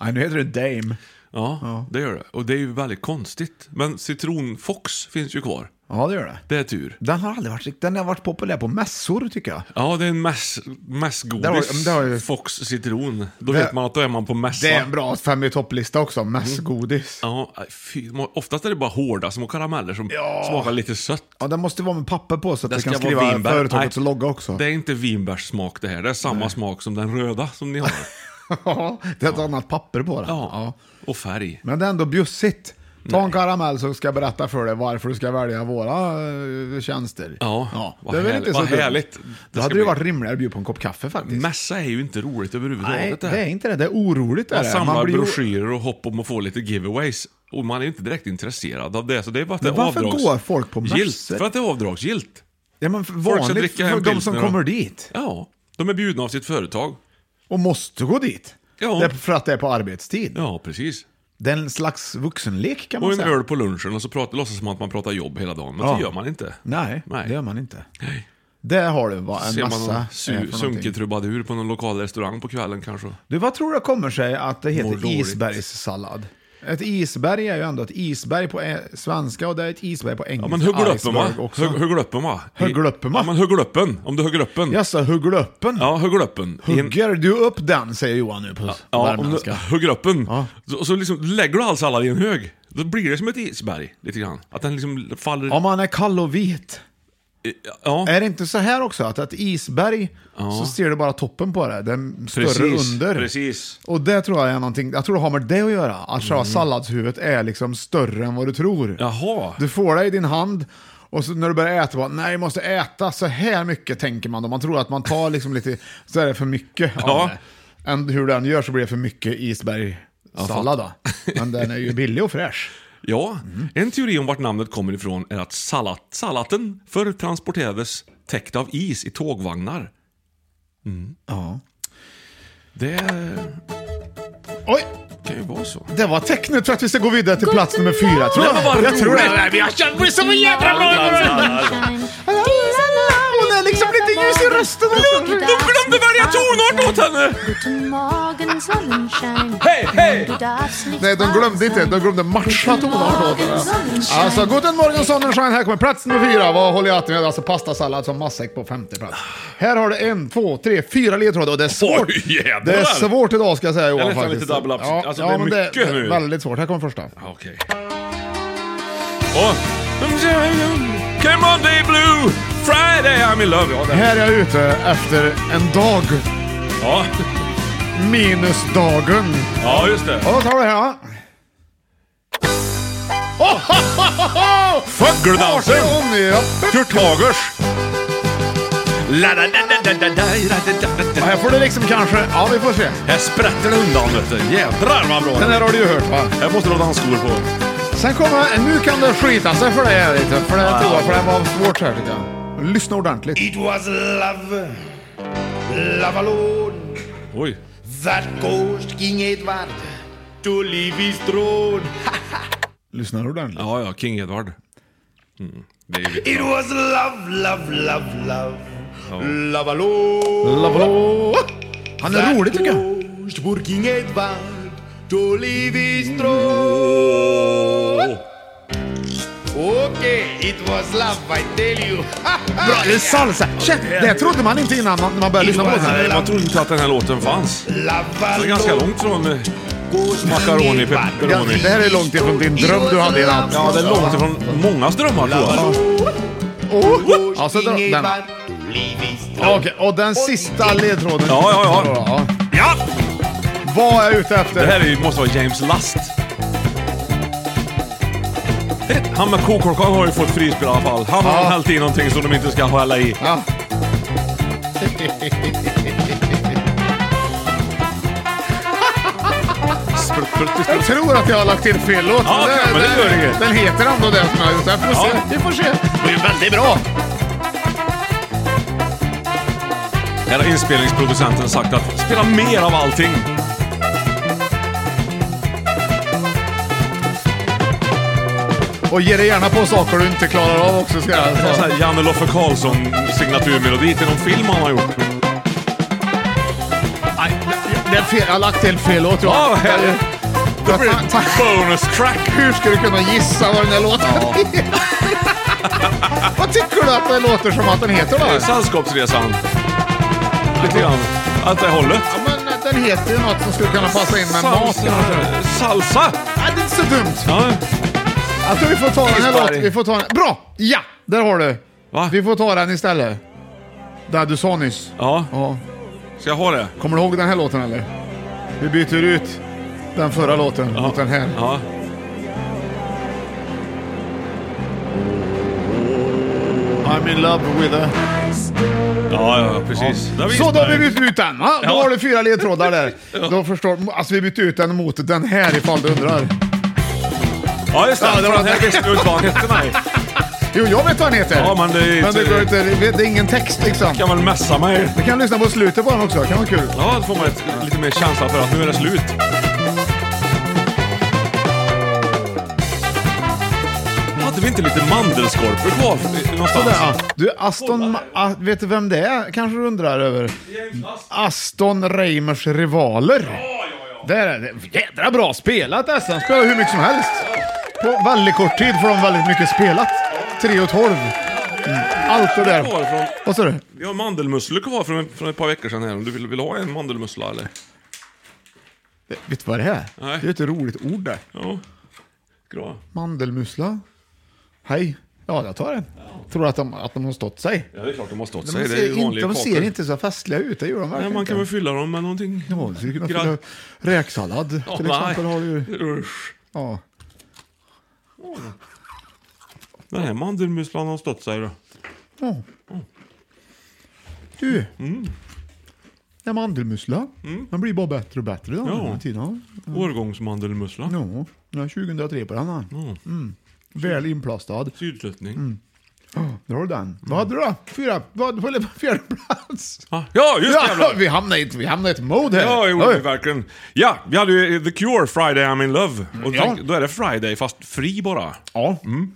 Speaker 3: Nej, nu heter det Dame.
Speaker 1: Ja, det gör det. Och det är ju väldigt konstigt. Men citronfox finns ju kvar.
Speaker 3: Ja, det gör det.
Speaker 1: Det är tur.
Speaker 3: Den har aldrig varit, den har varit populär på mässor tycker jag.
Speaker 1: Ja, det är en mäss,
Speaker 3: Där
Speaker 1: mässgodis.
Speaker 3: har- där har ju-
Speaker 1: Fox citron. Då
Speaker 3: Det-
Speaker 1: vet man att då är man på mässa.
Speaker 3: Det är en bra fem i topplista också, mässgodis.
Speaker 1: Ja, fy, de har- oftast är det bara hårda små karameller som
Speaker 3: Ja.
Speaker 1: smakar lite sött.
Speaker 3: Ja, den måste vara med papper på så att
Speaker 1: Det
Speaker 3: du kan
Speaker 1: ska vara
Speaker 3: skriva
Speaker 1: vinbär.
Speaker 3: företagets
Speaker 1: Nej.
Speaker 3: logga också.
Speaker 1: Det är inte vinbärssmak det här. Det är samma smak som den röda som ni har.
Speaker 3: Ja, det är ett annat papper på den.
Speaker 1: Ja.
Speaker 3: Ja.
Speaker 1: Och färg.
Speaker 3: Men det är ändå bjussigt. Ta en karamell så ska jag berätta för dig varför du ska välja våra eh, tjänster.
Speaker 1: Ja, vad
Speaker 3: det är väl
Speaker 1: härligt-
Speaker 3: inte så
Speaker 1: vad
Speaker 3: dumt.
Speaker 1: härligt det
Speaker 3: Det,
Speaker 1: ska
Speaker 3: hade ju
Speaker 1: bli.
Speaker 3: varit rimligare att bjuda på en kopp kaffe faktiskt.
Speaker 1: Mässa är ju inte roligt överhuvudtaget.
Speaker 3: Nej, det är inte det. Det är oroligt.
Speaker 1: Man
Speaker 3: är det.
Speaker 1: samlar
Speaker 3: blir ju-
Speaker 1: broschyrer och hopp om att få lite giveaways. Och man är ju inte direkt intresserad av det. Så det är bara att det
Speaker 3: Men
Speaker 1: är
Speaker 3: varför
Speaker 1: avdrags...
Speaker 3: går folk på
Speaker 1: Gilt.
Speaker 3: mässor?
Speaker 1: För att det är avdragsgillt.
Speaker 3: Ja, men
Speaker 1: Folk ska
Speaker 3: vanligt
Speaker 1: dricka en
Speaker 3: för de som
Speaker 1: pilsner och-
Speaker 3: kommer dit
Speaker 1: Ja. De är bjudna av sitt företag.
Speaker 3: och måste gå dit.
Speaker 1: Ja.
Speaker 3: Det är för att det är på arbetstid.
Speaker 1: Ja, precis.
Speaker 3: Det är en slags vuxenlek kan man
Speaker 1: Och en
Speaker 3: säga.
Speaker 1: öl på lunchen och så pratar, låtsas som att man pratar jobb hela dagen. Men
Speaker 3: Ja.
Speaker 1: det gör man inte.
Speaker 3: Nej,
Speaker 1: Nej.
Speaker 3: det gör man inte.
Speaker 1: Nej.
Speaker 3: Där har du va, en
Speaker 1: Ser man någon
Speaker 3: massa... eh,
Speaker 1: su-
Speaker 3: för någonting.
Speaker 1: sunkig trubadur på någon lokal restaurang på kvällen kanske.
Speaker 3: Du, vad tror du kommer sig att det
Speaker 1: Mår
Speaker 3: heter
Speaker 1: dåligt.
Speaker 3: isbergssallad? Ett isberg är ju ändå ett isberg på eh, svenska och det är ett isberg på
Speaker 1: Ja,
Speaker 3: engelska.
Speaker 1: men hugglöppen va?
Speaker 3: Iceberg också.
Speaker 1: Hugg- Hugglöppen va? I-
Speaker 3: Hugglöppen, va?
Speaker 1: Ja, men hugglöppen. Om du hugglöppen.
Speaker 3: Jaså, hugglöppen?
Speaker 1: Ja, hugglöppen. I en-
Speaker 3: Hugger du upp den, säger Johan nu på
Speaker 1: Ja, om du
Speaker 3: värmländska.
Speaker 1: hugger upp en.
Speaker 3: Ja.
Speaker 1: Så, så liksom lägger du all sallad i en hög. Då blir det som ett isberg, lite grann. Att den liksom faller...
Speaker 3: Om man är kall och vit,
Speaker 1: Ja,
Speaker 3: är det inte så här också? Att ett isberg, så ser du bara toppen på det. Den större
Speaker 1: precis.
Speaker 3: under.
Speaker 1: Precis.
Speaker 3: Och det tror jag är någonting, jag tror det har med det att göra. Att själva
Speaker 1: Mm.
Speaker 3: salladshuvudet är liksom större än vad du tror.
Speaker 1: Jaha.
Speaker 3: Du får det i din hand och så när du börjar äta, bara, nej jag måste äta så här mycket tänker man då. Man tror att man tar liksom lite, så är det för mycket
Speaker 1: Ja.
Speaker 3: av det. Än hur den gör så blir det för mycket isbergssallad då. Men den är ju billig och fräsch.
Speaker 1: Ja,
Speaker 3: Mm.
Speaker 1: en teori om vart namnet kommer ifrån är att sallat, sallaten förr transporterades täckt av is i tågvagnar. Mm. Det
Speaker 3: Oj,
Speaker 1: kan ju vara så.
Speaker 3: det var tecknet för att vi ska gå vidare till plats nummer fyra tror jag.
Speaker 1: Det var bara
Speaker 3: jag tror
Speaker 1: roligt.
Speaker 3: det.
Speaker 5: Vi har känt mig som en jävla bra Hon är liksom lite ljus i rösten.
Speaker 3: eller?
Speaker 5: Du glömde välja tonart åt henne! Hej, hej!
Speaker 3: Nej, de glömde inte, de glömde matcha tonart åt den. Alltså, guten morgon Sonnenschein, här kommer plats nummer fyra. Vad håller jag till med? Alltså pastasallad som matsäck på femte plats. Här har du en, två, tre, fyra ledtrådar och det är svårt.
Speaker 1: Oj, jävlar.
Speaker 3: det är svårt idag ska jag säga Johan
Speaker 1: Jag är nästan
Speaker 3: faktiskt.
Speaker 1: lite double up.
Speaker 3: Ja,
Speaker 1: Alltså,
Speaker 3: ja,
Speaker 1: det är
Speaker 3: men det,
Speaker 1: mycket
Speaker 3: det
Speaker 1: nu.
Speaker 3: är väldigt svårt. Här kommer första.
Speaker 1: Okej. Åh. Come on day blue, Friday I'm in love. Ja, det
Speaker 3: Här är jag ute efter en dag,
Speaker 1: Ja.
Speaker 3: minus dagen.
Speaker 1: ja, just det.
Speaker 3: Ja, då tar vi det här då.
Speaker 1: Fågeldansen!
Speaker 3: Arton, ja.
Speaker 1: Kurt Hagers!
Speaker 3: Ja, Här får du liksom kanske, ja vi får se.
Speaker 1: Här sprätter det undan vet du. Jädrar vad bra
Speaker 3: Den här har du ju hört va?
Speaker 1: Här måste du ha dansskor på.
Speaker 3: Sen kommer, nu kan det skita sig för dig lite, för det tror jag, för det var svårt här tycker jag. Lyssna ordentligt.
Speaker 4: It was love, love alone.
Speaker 1: Oj.
Speaker 4: That ghost King Edward to leave his throne.
Speaker 3: Lyssna ordentligt.
Speaker 1: Ja, ja, King Edward. Mm. Det är ju...
Speaker 4: It was love, love, love, love. Love alone.
Speaker 3: Lavalo. Han är rolig tycker jag.
Speaker 4: Ghost for King Edward to leave his throne.
Speaker 1: Åh.
Speaker 4: It was love, I tell you.
Speaker 3: Bra, det är salsa! Shit, det trodde man inte innan man, när man började lyssna på den.
Speaker 1: Nej, man trodde inte att den här låten fanns. Det
Speaker 4: Love
Speaker 1: är ganska långt från eh, macaroni pepperoni.
Speaker 3: Det här är långt ifrån din dröm du hade i natt.
Speaker 1: Ja, det är långt ifrån mångas drömmar tror jag.
Speaker 3: Oh! Alltså, den, den. Okej, och den sista ledtråden.
Speaker 1: Ja, ja, ja. Ja!
Speaker 3: Vad är jag ute
Speaker 1: Det
Speaker 3: efter?
Speaker 1: här är, ju- måste vara James Last. Han med kokorkan har ju fått frispel i alla fall. Han har
Speaker 3: Ja.
Speaker 1: hällt i någonting som de inte ska hälla i.
Speaker 3: Ja.
Speaker 1: Sprutt, sprutt, sprutt.
Speaker 3: Jag tror att jag har lagt till fel låt.
Speaker 1: Ja, okej, men det gör inget.
Speaker 3: Den heter ändå det som jag har gjort. Jag får
Speaker 1: Ja.
Speaker 3: se. Vi får se. Det är ju väldigt bra.
Speaker 1: Här har inspelningsproducenten sagt att spela mer av allting.
Speaker 3: Och ge dig gärna på saker du inte klarar av också ska jag
Speaker 1: Det är så
Speaker 3: säga.
Speaker 1: här Janne Loffe Karlsson signaturmelodi till någon film han har gjort.
Speaker 3: Nej, det- det är fel. Jag har lagt till fel låt.
Speaker 1: Ja,
Speaker 3: Ja,
Speaker 1: här-
Speaker 3: Ja,
Speaker 1: Det blir
Speaker 3: fan,
Speaker 1: ett
Speaker 3: tack.
Speaker 1: bonus track.
Speaker 3: Hur ska du kunna gissa vad den här låten heter? Vad tycker du att det låter som att den heter då?
Speaker 1: Det är Sällskapsresan. Lite grann. Att det hållet.
Speaker 3: Ja, men eh, den heter ju något som skulle kunna passa in med mat kanske.
Speaker 1: Salsa. Salsa.
Speaker 3: Nej, det är inte så dumt.
Speaker 1: Ja.
Speaker 3: Jag tror vi får ta den här
Speaker 1: Isberg.
Speaker 3: låten. Vi får ta den. Bra! Ja, där har du.
Speaker 1: Va?
Speaker 3: Vi får ta den istället. Där du sa nyss.
Speaker 1: ja.
Speaker 3: Ja.
Speaker 1: Ska jag ha det?
Speaker 3: Kommer du ihåg den här låten eller? Vi byter ut den förra låten mot den här.
Speaker 1: Ja.
Speaker 3: I'm in love with a...
Speaker 1: Ja, ja, precis. Där var
Speaker 3: Så då har vi
Speaker 1: Isberg.
Speaker 3: bytt ut den va? Då
Speaker 1: Ja.
Speaker 3: har du fyra ledtrådar där. Då förstår Alltså vi bytte ut den mot den här ifall du undrar.
Speaker 1: Ja, just det.
Speaker 3: Ja, det var
Speaker 1: den här
Speaker 3: det.
Speaker 1: visste du inte vad han hette, nej.
Speaker 3: Jo, jag vet vad den heter.
Speaker 1: Ja, men det är
Speaker 3: Men det
Speaker 1: inte-
Speaker 3: går inte... Det är ingen text liksom.
Speaker 1: Kan väl messa mig.
Speaker 3: Vi kan lyssna på slutet på den också, det kan vara kul.
Speaker 1: Ja, då får man ett, lite mer känsla för att nu är det slut. Hade vi inte lite mandelskorpor kvar för- någonstans?
Speaker 3: Sådär, ja. Du, Aston... A, vet du vem det är? Kanske du undrar över? Aston Reimers rivaler. Där är det. Jädra bra spelat Aston. Spelar hur mycket som helst. På väldigt kort tid får de väldigt mycket spelat. 3 och 12. Mm. Allt det där.
Speaker 1: Kvar från-
Speaker 3: Vad sa du?
Speaker 1: Vi har mandelmusslor kvar från, från ett par veckor sedan här. Om du vill, vill ha en mandelmussla eller?
Speaker 3: Vet du vad det är?
Speaker 1: Nej.
Speaker 3: Det är ett roligt ord det.
Speaker 1: Ja. Bra.
Speaker 3: Mandelmussla. Hej. Ja, jag tar den. Tror att de, att de har stått sig.
Speaker 1: Ja, det är klart de har stått
Speaker 3: De
Speaker 1: sig. Det är ju
Speaker 3: ser,
Speaker 1: vanliga
Speaker 3: inte, de ser
Speaker 1: kakor.
Speaker 3: inte så festliga ut, det gör de
Speaker 1: Nej,
Speaker 3: verkligen
Speaker 1: man kan väl
Speaker 3: inte.
Speaker 1: fylla dem med någonting.
Speaker 3: Ja, du skulle kunna
Speaker 1: Gra-
Speaker 3: fylla räksallad till
Speaker 1: Ja,
Speaker 3: exempel.
Speaker 1: nej.
Speaker 3: Har du ju.
Speaker 1: Usch.
Speaker 3: Ja.
Speaker 1: Den här mandelmusslan har stått sig då.
Speaker 3: Ja. Du.
Speaker 1: Mm.
Speaker 3: Den mandelmussla, den blir bara bättre och bättre den
Speaker 1: Ja.
Speaker 3: här tiden.
Speaker 1: Årgångsmandelmussla.
Speaker 3: Ja, den är 2003 på den här. Mm. Väl inplastad.
Speaker 1: Sydslöttning.
Speaker 3: Mm. Där har du den. Vad hade du då? Fyra? Vad hade du på fjärde plats?
Speaker 1: Ah, Ja, just det!
Speaker 3: Ja,
Speaker 1: jävlar.
Speaker 3: vi hamnade i ett- vi hamnade i ett mode här.
Speaker 1: Ja, det
Speaker 3: Oj.
Speaker 1: gjorde vi verkligen. Ja, vi hade ju eh, The Cure, Friday I'm in love. Och
Speaker 3: Mm. ja.
Speaker 1: tänk, då är det Friday, fast fri bara.
Speaker 3: Ja.
Speaker 1: Mm.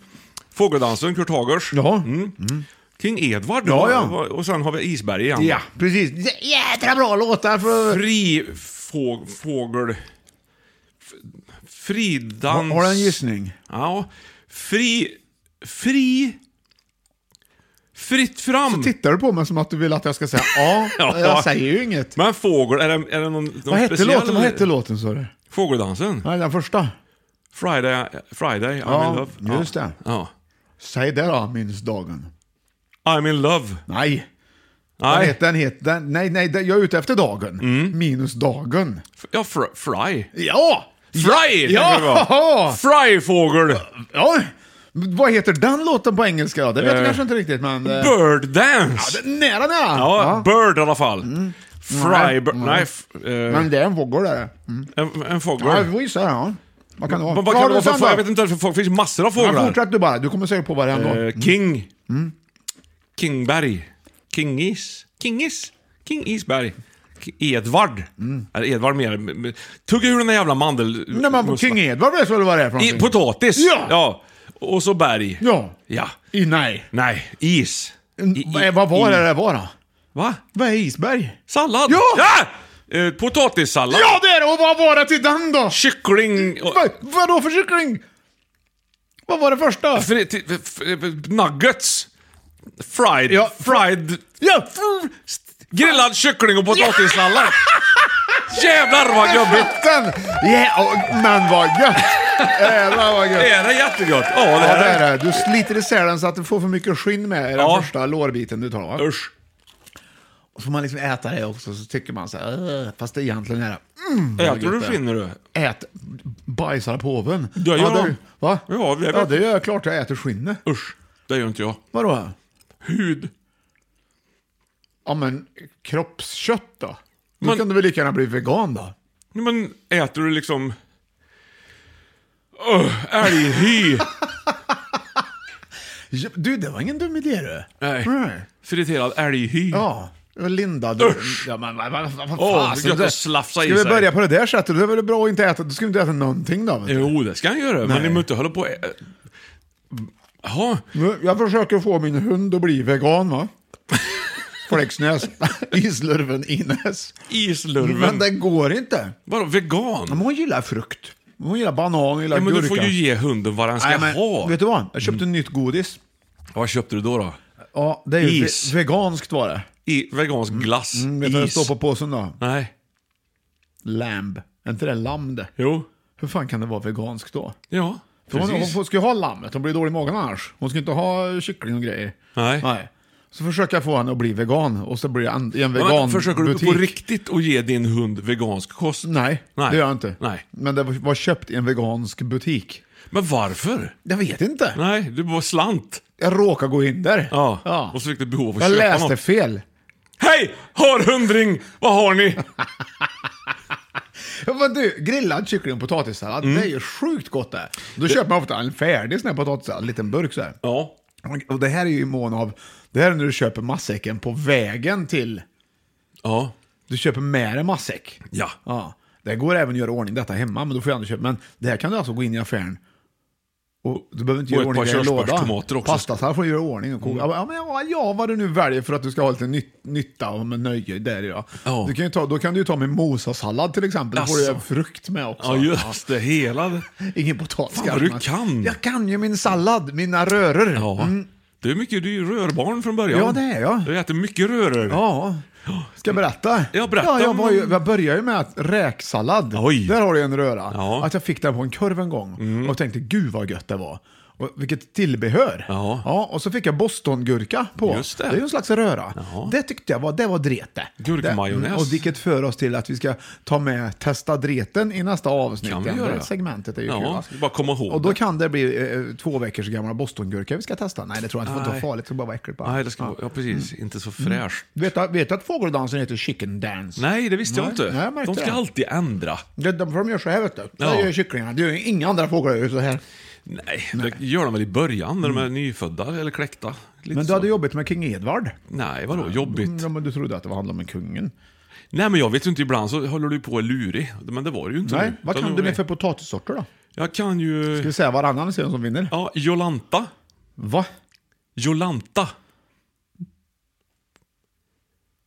Speaker 1: Fågeldansen, Kurt Hagers.
Speaker 3: Ja.
Speaker 1: Mm. King Edward.
Speaker 3: Ja, ja.
Speaker 1: Och- Och sen har vi Isberg igen.
Speaker 3: ja, precis. Jä- Jädra bra låtar för...
Speaker 1: Fri få, fågel... f- Fridans...
Speaker 3: Har du en gissning?
Speaker 1: Ja. Fri... Fri... Fritt fram.
Speaker 3: Tittar du på mig som att du vill att jag ska säga ja?
Speaker 1: Ja.
Speaker 3: Jag säger ju inget.
Speaker 1: Men fågel, är det, är det någon, någon
Speaker 3: Vad hette
Speaker 1: speciell...
Speaker 3: låten? Vad hette låten sa du?
Speaker 1: Fågeldansen?
Speaker 3: Nej, den första.
Speaker 1: Friday, Friday I'm
Speaker 3: Ja,
Speaker 1: in love.
Speaker 3: just det.
Speaker 1: Ja.
Speaker 3: Säg det då, minns dagen.
Speaker 1: I'm in love.
Speaker 3: Nej. Den
Speaker 1: Nej. Mm.
Speaker 3: heter, den heter, den, nej, nej, den- jag är ute efter dagen. Minus dagen.
Speaker 1: Ja, fr- Fry.
Speaker 3: Ja!
Speaker 1: Fry!
Speaker 3: Ja!
Speaker 1: tänker jag på. Fryfågel!
Speaker 3: ja! Vad heter den låten på engelska då? Det vet
Speaker 1: Eh,
Speaker 3: du kanske inte riktigt, men... eh,
Speaker 1: Bird dance!
Speaker 3: det- Nära, nära!
Speaker 1: Ja, bird i alla fall. Fry...
Speaker 3: Nej.
Speaker 1: bir-
Speaker 3: Mm.
Speaker 1: Nej, f- eh,
Speaker 3: Men det är en vågor där. Mm.
Speaker 1: en, en
Speaker 3: Ja, vi
Speaker 1: fågel.
Speaker 3: får gissa det, ja. Vad kan det vara?
Speaker 1: Men vad
Speaker 3: Har
Speaker 1: kan
Speaker 3: du
Speaker 1: det vara för
Speaker 3: sen
Speaker 1: fågel? Jag
Speaker 3: då?
Speaker 1: vet inte, för det finns massor av
Speaker 3: Men
Speaker 1: fåglar.
Speaker 3: Fortsätt du bara, du kommer säkert på varje ändå.
Speaker 1: Eh, King.
Speaker 3: Mm.
Speaker 1: Kingberg. Kingis. Kingis. King Isberg. Ki- Edvard. Eller Edvard mer. m- m- Tugga ur den där jävla mandel...
Speaker 3: Mm. Nej, men King Edward vet väl vad det är för
Speaker 1: I,
Speaker 3: någonting?
Speaker 1: potatis.
Speaker 3: Ja.
Speaker 1: Och så berg.
Speaker 3: Ja.
Speaker 1: Ja.
Speaker 3: I, nej.
Speaker 1: Nej, is. I- i-
Speaker 3: vad var
Speaker 1: i-
Speaker 3: det det var då?
Speaker 1: Va?
Speaker 3: Vad är isberg?
Speaker 1: Sallad?
Speaker 3: Ja!
Speaker 1: Eh, potatissallad?
Speaker 3: Ja, det är det! Och vad var det till den då?
Speaker 1: Kyckling... Och,
Speaker 3: Va, vadå för kyckling?
Speaker 2: Vad var det första?
Speaker 1: Fri- t- f- f- Nuggets. Fried.
Speaker 2: Ja,
Speaker 1: fried.
Speaker 2: Ja.
Speaker 1: Grillad kyckling och potatissallad. Jävlar vad gubbigt!
Speaker 3: Den! Yeah, och- men vad gött! Jävlar vad gött!
Speaker 1: Är det jättegott? Ja, det
Speaker 3: Ja, det
Speaker 1: är det.
Speaker 3: är det. Du sliter isär den så att du får för mycket skinn med i den
Speaker 1: Ja.
Speaker 3: första lårbiten du tar. Va?
Speaker 1: Usch.
Speaker 3: Och får man liksom äta det också så tycker man så här, "Äh", fast det egentligen är det.
Speaker 1: Äter du
Speaker 3: gött det.
Speaker 1: skinner du?
Speaker 3: Ät, bajsar påven.
Speaker 1: Det gör
Speaker 3: det,
Speaker 1: jag.
Speaker 3: Va?
Speaker 1: Ja, det är
Speaker 3: ja,
Speaker 1: väl-
Speaker 3: det gör jag klart jag äter skinnet.
Speaker 1: Usch. Det gör inte jag.
Speaker 3: Vadå?
Speaker 1: Hud.
Speaker 3: Ja men kroppskött då? Då
Speaker 1: Men-
Speaker 3: kan du väl lika gärna bli vegan då?
Speaker 1: Nej, Men äter du liksom... Öh, älghy.
Speaker 3: Ja, Du, det var ingen dum idé du.
Speaker 1: Nej.
Speaker 3: Nej.
Speaker 1: Friterad älghy.
Speaker 3: Ja, det var Linda du.
Speaker 1: Usch.
Speaker 3: Ja, men vad vad- vad- vad
Speaker 1: Åh,
Speaker 3: fasen,
Speaker 1: gött
Speaker 3: det-
Speaker 1: att slafsa i
Speaker 3: Ska vi
Speaker 1: sig.
Speaker 3: börja på det där sättet, då är det bra att inte äta, då ska vi inte äta någonting då. vet du.
Speaker 1: Jo, det ska han göra. Men
Speaker 3: Nej.
Speaker 1: ni behöver inte hålla på... och ä- Jaha.
Speaker 3: Nu, jag försöker få min hund att bli vegan va? Flexnäs, islurven Ines. Men
Speaker 1: Islurven.
Speaker 3: det går inte.
Speaker 1: Vadå, vegan?
Speaker 3: Men hon gillar frukt. Hon gillar banan, hon gillar
Speaker 1: Ja, men du
Speaker 3: gurka.
Speaker 1: får ju ge hunden vad den ska
Speaker 3: Nej, men,
Speaker 1: ha.
Speaker 3: Vet du vad? Jag köpte nytt godis.
Speaker 1: Vad köpte du då? då?
Speaker 3: Ja, det är ju
Speaker 1: Is.
Speaker 3: ve- veganskt var det.
Speaker 1: I, vegansk glass.
Speaker 3: Mm, Vet du vad det
Speaker 1: is.
Speaker 3: står på påsen då?
Speaker 1: Nej.
Speaker 3: Lamb. Är inte det lamm det?
Speaker 1: Jo.
Speaker 3: Hur fan kan det vara veganskt då?
Speaker 1: Ja.
Speaker 3: För hon, hon
Speaker 1: Precis.
Speaker 3: får- ska ju ha lammet, hon blir dålig i magen annars. Hon ska inte ha kyckling och grejer.
Speaker 1: Nej.
Speaker 3: Nej. Så försöker jag få henne att bli vegan och så blir jag an- i en
Speaker 1: Ja, men
Speaker 3: veganbutik.
Speaker 1: försöker du på riktigt att ge din hund vegansk kost?
Speaker 3: Nej,
Speaker 1: Nej.
Speaker 3: det gör jag inte.
Speaker 1: Nej.
Speaker 3: Men det var köpt i en vegansk butik.
Speaker 1: Men varför?
Speaker 3: Jag vet inte.
Speaker 1: Nej, du var slant.
Speaker 3: Jag råkar gå in där.
Speaker 1: Ja. Och så fick du behov av att
Speaker 3: Jag
Speaker 1: köpa
Speaker 3: läste
Speaker 1: något.
Speaker 3: fel.
Speaker 1: Hej! Har hundring! Vad har ni?
Speaker 3: Ja, Men du, grillad kyckling och potatissallad,
Speaker 1: Mm.
Speaker 3: det är ju sjukt gott det. Då köper man ofta en färdig sån här potatissallad, en liten burk så här.
Speaker 1: Ja.
Speaker 3: Och det här är ju i mån av, det här är när du köper matsäcken på vägen till,
Speaker 1: Ja.
Speaker 3: du köper med dig matsäck.
Speaker 1: Ja.
Speaker 3: Ja. Det går även att göra i ordning detta hemma, men då får jag ändå köpa. Men det här kan du alltså gå in i affären och du behöver inte göra
Speaker 1: Och
Speaker 3: i
Speaker 1: ett
Speaker 3: ordning
Speaker 1: par
Speaker 3: det i en
Speaker 1: körsbärstomater
Speaker 3: låda.
Speaker 1: också. Mm.
Speaker 3: Pastasallad får du göra i ordning och koka. Ja, men ja, ja, vad du nu väljer för att du ska ha lite nytt, nytta och med nöje. Där ja.
Speaker 1: Ja.
Speaker 3: Du kan ju ta, då kan du ju ta med mosasallad till exempel. Då får du
Speaker 1: Jaså.
Speaker 3: ju frukt med också.
Speaker 1: Ja, just det. Hela det.
Speaker 3: Ingen potatis.
Speaker 1: Fan, vad du kan.
Speaker 3: Jag kan ju min sallad, mina röror.
Speaker 1: Ja.
Speaker 3: Mm.
Speaker 1: Du är mycket du är ju rörbarn från början.
Speaker 3: Ja, det är jag.
Speaker 1: Du äter mycket röror.
Speaker 3: Ja. Ska jag berätta?
Speaker 1: Ja, berätta
Speaker 3: Ja, jag,
Speaker 1: om-
Speaker 3: var ju, jag började ju med att räksallad.
Speaker 1: Oj.
Speaker 3: Där har du en röra.
Speaker 1: Ja. Mm.
Speaker 3: Att jag fick den på en kurv en gång och tänkte gud vad gött det var. Och vilket tillbehör.
Speaker 1: Ja.
Speaker 3: och så fick jag bostongurka på.
Speaker 1: Just det.
Speaker 3: är ju en slags röra.
Speaker 1: Ja.
Speaker 3: Det tyckte jag var, det var drete.
Speaker 1: Gurkmajonnäs.
Speaker 3: Det- mm, Och vilket för oss till att vi ska ta med testa dreten i nästa avsnitt.
Speaker 1: Kan vi
Speaker 3: Det
Speaker 1: göra.
Speaker 3: segmentet är ju
Speaker 1: Ja,
Speaker 3: kul. va?
Speaker 1: vi bara komma ihåg
Speaker 3: Och då
Speaker 1: det.
Speaker 3: kan det bli eh, två veckors gamla bostongurka vi ska testa. Nej, det tror jag inte. Det får
Speaker 1: Nej.
Speaker 3: inte vara farligt. Det ska bara vara äckligt. Bara.
Speaker 1: Nej, det ska vara... Ja, precis.
Speaker 3: Mm.
Speaker 1: Inte så fräscht.
Speaker 3: Vet du vet du att fågeldansen heter chicken dance?
Speaker 1: Nej, det visste jag
Speaker 3: Nej,
Speaker 1: inte.
Speaker 3: nej, jag märkte
Speaker 1: De ska
Speaker 3: det.
Speaker 1: alltid ändra.
Speaker 3: Det är därför de gör så här vet du. Det
Speaker 1: Ja.
Speaker 3: gör kycklingarna. Det gör inga andra fåglar gör så här.
Speaker 1: Nej, det gör de väl i början när de är nyfödda eller kläckta. Lite
Speaker 3: Mm. Men du
Speaker 1: så.
Speaker 3: hade jobbigt med kung Edvard.
Speaker 1: Nej, vadå? Jobbigt.
Speaker 3: Mm, Ja, men du trodde att det handlade om kungen.
Speaker 1: Nej, men jag vet ju inte. Ibland så håller du på och är lurig. Men det var det ju inte.
Speaker 3: Nej,
Speaker 1: nu.
Speaker 3: vad
Speaker 1: Utan
Speaker 3: kan
Speaker 1: nu-
Speaker 3: du med för potatissorter då?
Speaker 1: Jag kan
Speaker 3: Ska
Speaker 1: ju...
Speaker 3: vi säga varannan sen som vinner?
Speaker 1: Ja, Jolanta.
Speaker 3: Va?
Speaker 1: Jolanta.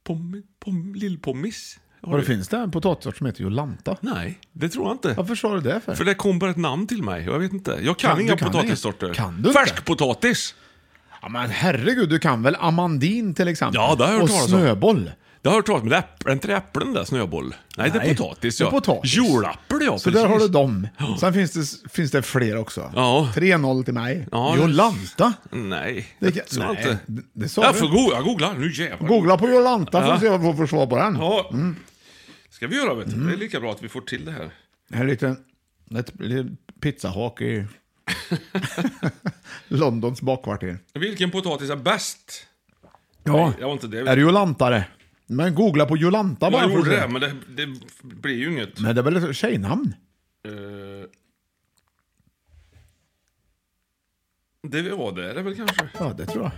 Speaker 1: Pom, pom, Lillpommis? Har
Speaker 3: Vad
Speaker 1: du-
Speaker 3: finns det en potatissort som heter Jolanta?
Speaker 1: Nej, det tror jag inte.
Speaker 3: Varför sa du det för?
Speaker 1: För det kom bara ett namn till mig. Jag vet inte. Jag kan,
Speaker 3: Kan- du
Speaker 1: inga
Speaker 3: kan
Speaker 1: potatissorter.
Speaker 3: inget. Kan du inte?
Speaker 1: Färskpotatis!
Speaker 3: Ja, men herregud, du kan väl amandin till exempel?
Speaker 1: Ja, det har jag hört
Speaker 3: Och
Speaker 1: talas om.
Speaker 3: snöboll.
Speaker 1: Det har jag hört talas om. Det är äpp- Är inte det äpplen där, snöboll? Nej, det är
Speaker 3: Nej,
Speaker 1: potatis.
Speaker 3: det är
Speaker 1: Ja.
Speaker 3: potatis.
Speaker 1: Jolapple, ja.
Speaker 3: Så där har du dem. Sen finns det, finns det fler också.
Speaker 1: Ja.
Speaker 3: 3-0 till mig.
Speaker 1: Ja, det-
Speaker 3: Jolanta?
Speaker 1: Nej,
Speaker 3: Det
Speaker 1: det,
Speaker 3: kan-
Speaker 1: tror jag
Speaker 3: nej,
Speaker 1: inte.
Speaker 3: det- det sa
Speaker 1: jag,
Speaker 3: du.
Speaker 1: får go- jag googlar. Nu jävlar.
Speaker 3: Googla Mm. på Jolanta för att se vad vi får för svar på den.
Speaker 1: Ja. ska vi göra, vet du. Det
Speaker 3: Mm.
Speaker 1: är lika bra att vi får till det här.
Speaker 3: En liten ett, litet pizzahak i Londons bakkvarter.
Speaker 1: Vilken potatis är bäst?
Speaker 3: Ja,
Speaker 1: Nej, jag var inte det.
Speaker 3: är du jolantare? Men googla på Jolanta bara. för
Speaker 1: Jag
Speaker 3: att
Speaker 1: gjorde
Speaker 3: se.
Speaker 1: det, men det, det blir ju inget.
Speaker 3: Men det är väl ett tjejnamn? Mm.
Speaker 1: Eh, Det, ja, det är det väl kanske.
Speaker 3: Ja, det tror jag.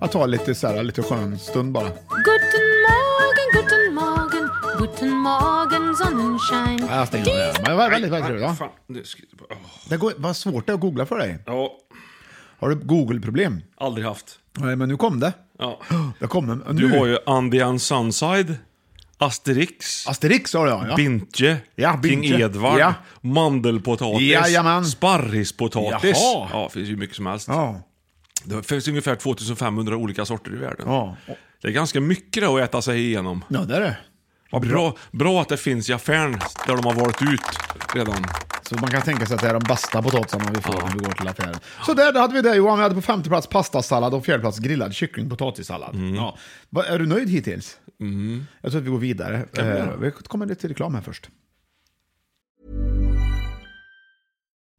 Speaker 3: Jag tar lite, så här, lite skön stund bara.
Speaker 5: Guten Morgen, guten Morgen, guten Morgen, Sonnenschein.
Speaker 3: Ja, Jag stänger av det. Men det var väldigt, väldigt trevligt. va?
Speaker 1: Fan, nu ska jag- åh.
Speaker 3: Det går, vad svårt det är att googla för dig.
Speaker 1: Ja,
Speaker 3: Har du Google-problem?
Speaker 1: aldrig haft.
Speaker 3: Nej, men nu kom det.
Speaker 1: Ja.
Speaker 3: Det kommer. Nu.
Speaker 1: Du har ju Andian Sunside, Asterix,
Speaker 3: Asterix sa du ja. ja.
Speaker 1: Bintje,
Speaker 3: Ja,
Speaker 1: King
Speaker 3: Bintje.
Speaker 1: Edvard,
Speaker 3: Ja.
Speaker 1: mandelpotatis,
Speaker 3: Jajamän.
Speaker 1: sparrispotatis.
Speaker 3: Jaha.
Speaker 1: Ja, det finns ju mycket som helst.
Speaker 3: ja.
Speaker 1: Det finns ungefär 2500 olika sorter i världen.
Speaker 3: Ja.
Speaker 1: Det är ganska mycket det att äta sig igenom.
Speaker 3: Ja, det är det.
Speaker 1: Vad bra, bra att det finns i affären där de har valt ut redan.
Speaker 3: Så man kan tänka sig att det är de bästa potatisarna vi får när vi går till affären. Så där då hade vi det Johan. Vi hade på femte plats pastasallad och fjärde plats grillad kycklingpotatissallad. Ja. Va- Är du nöjd hittills? Jag tror att vi går vidare. Eh, vi kommer lite till reklam här först.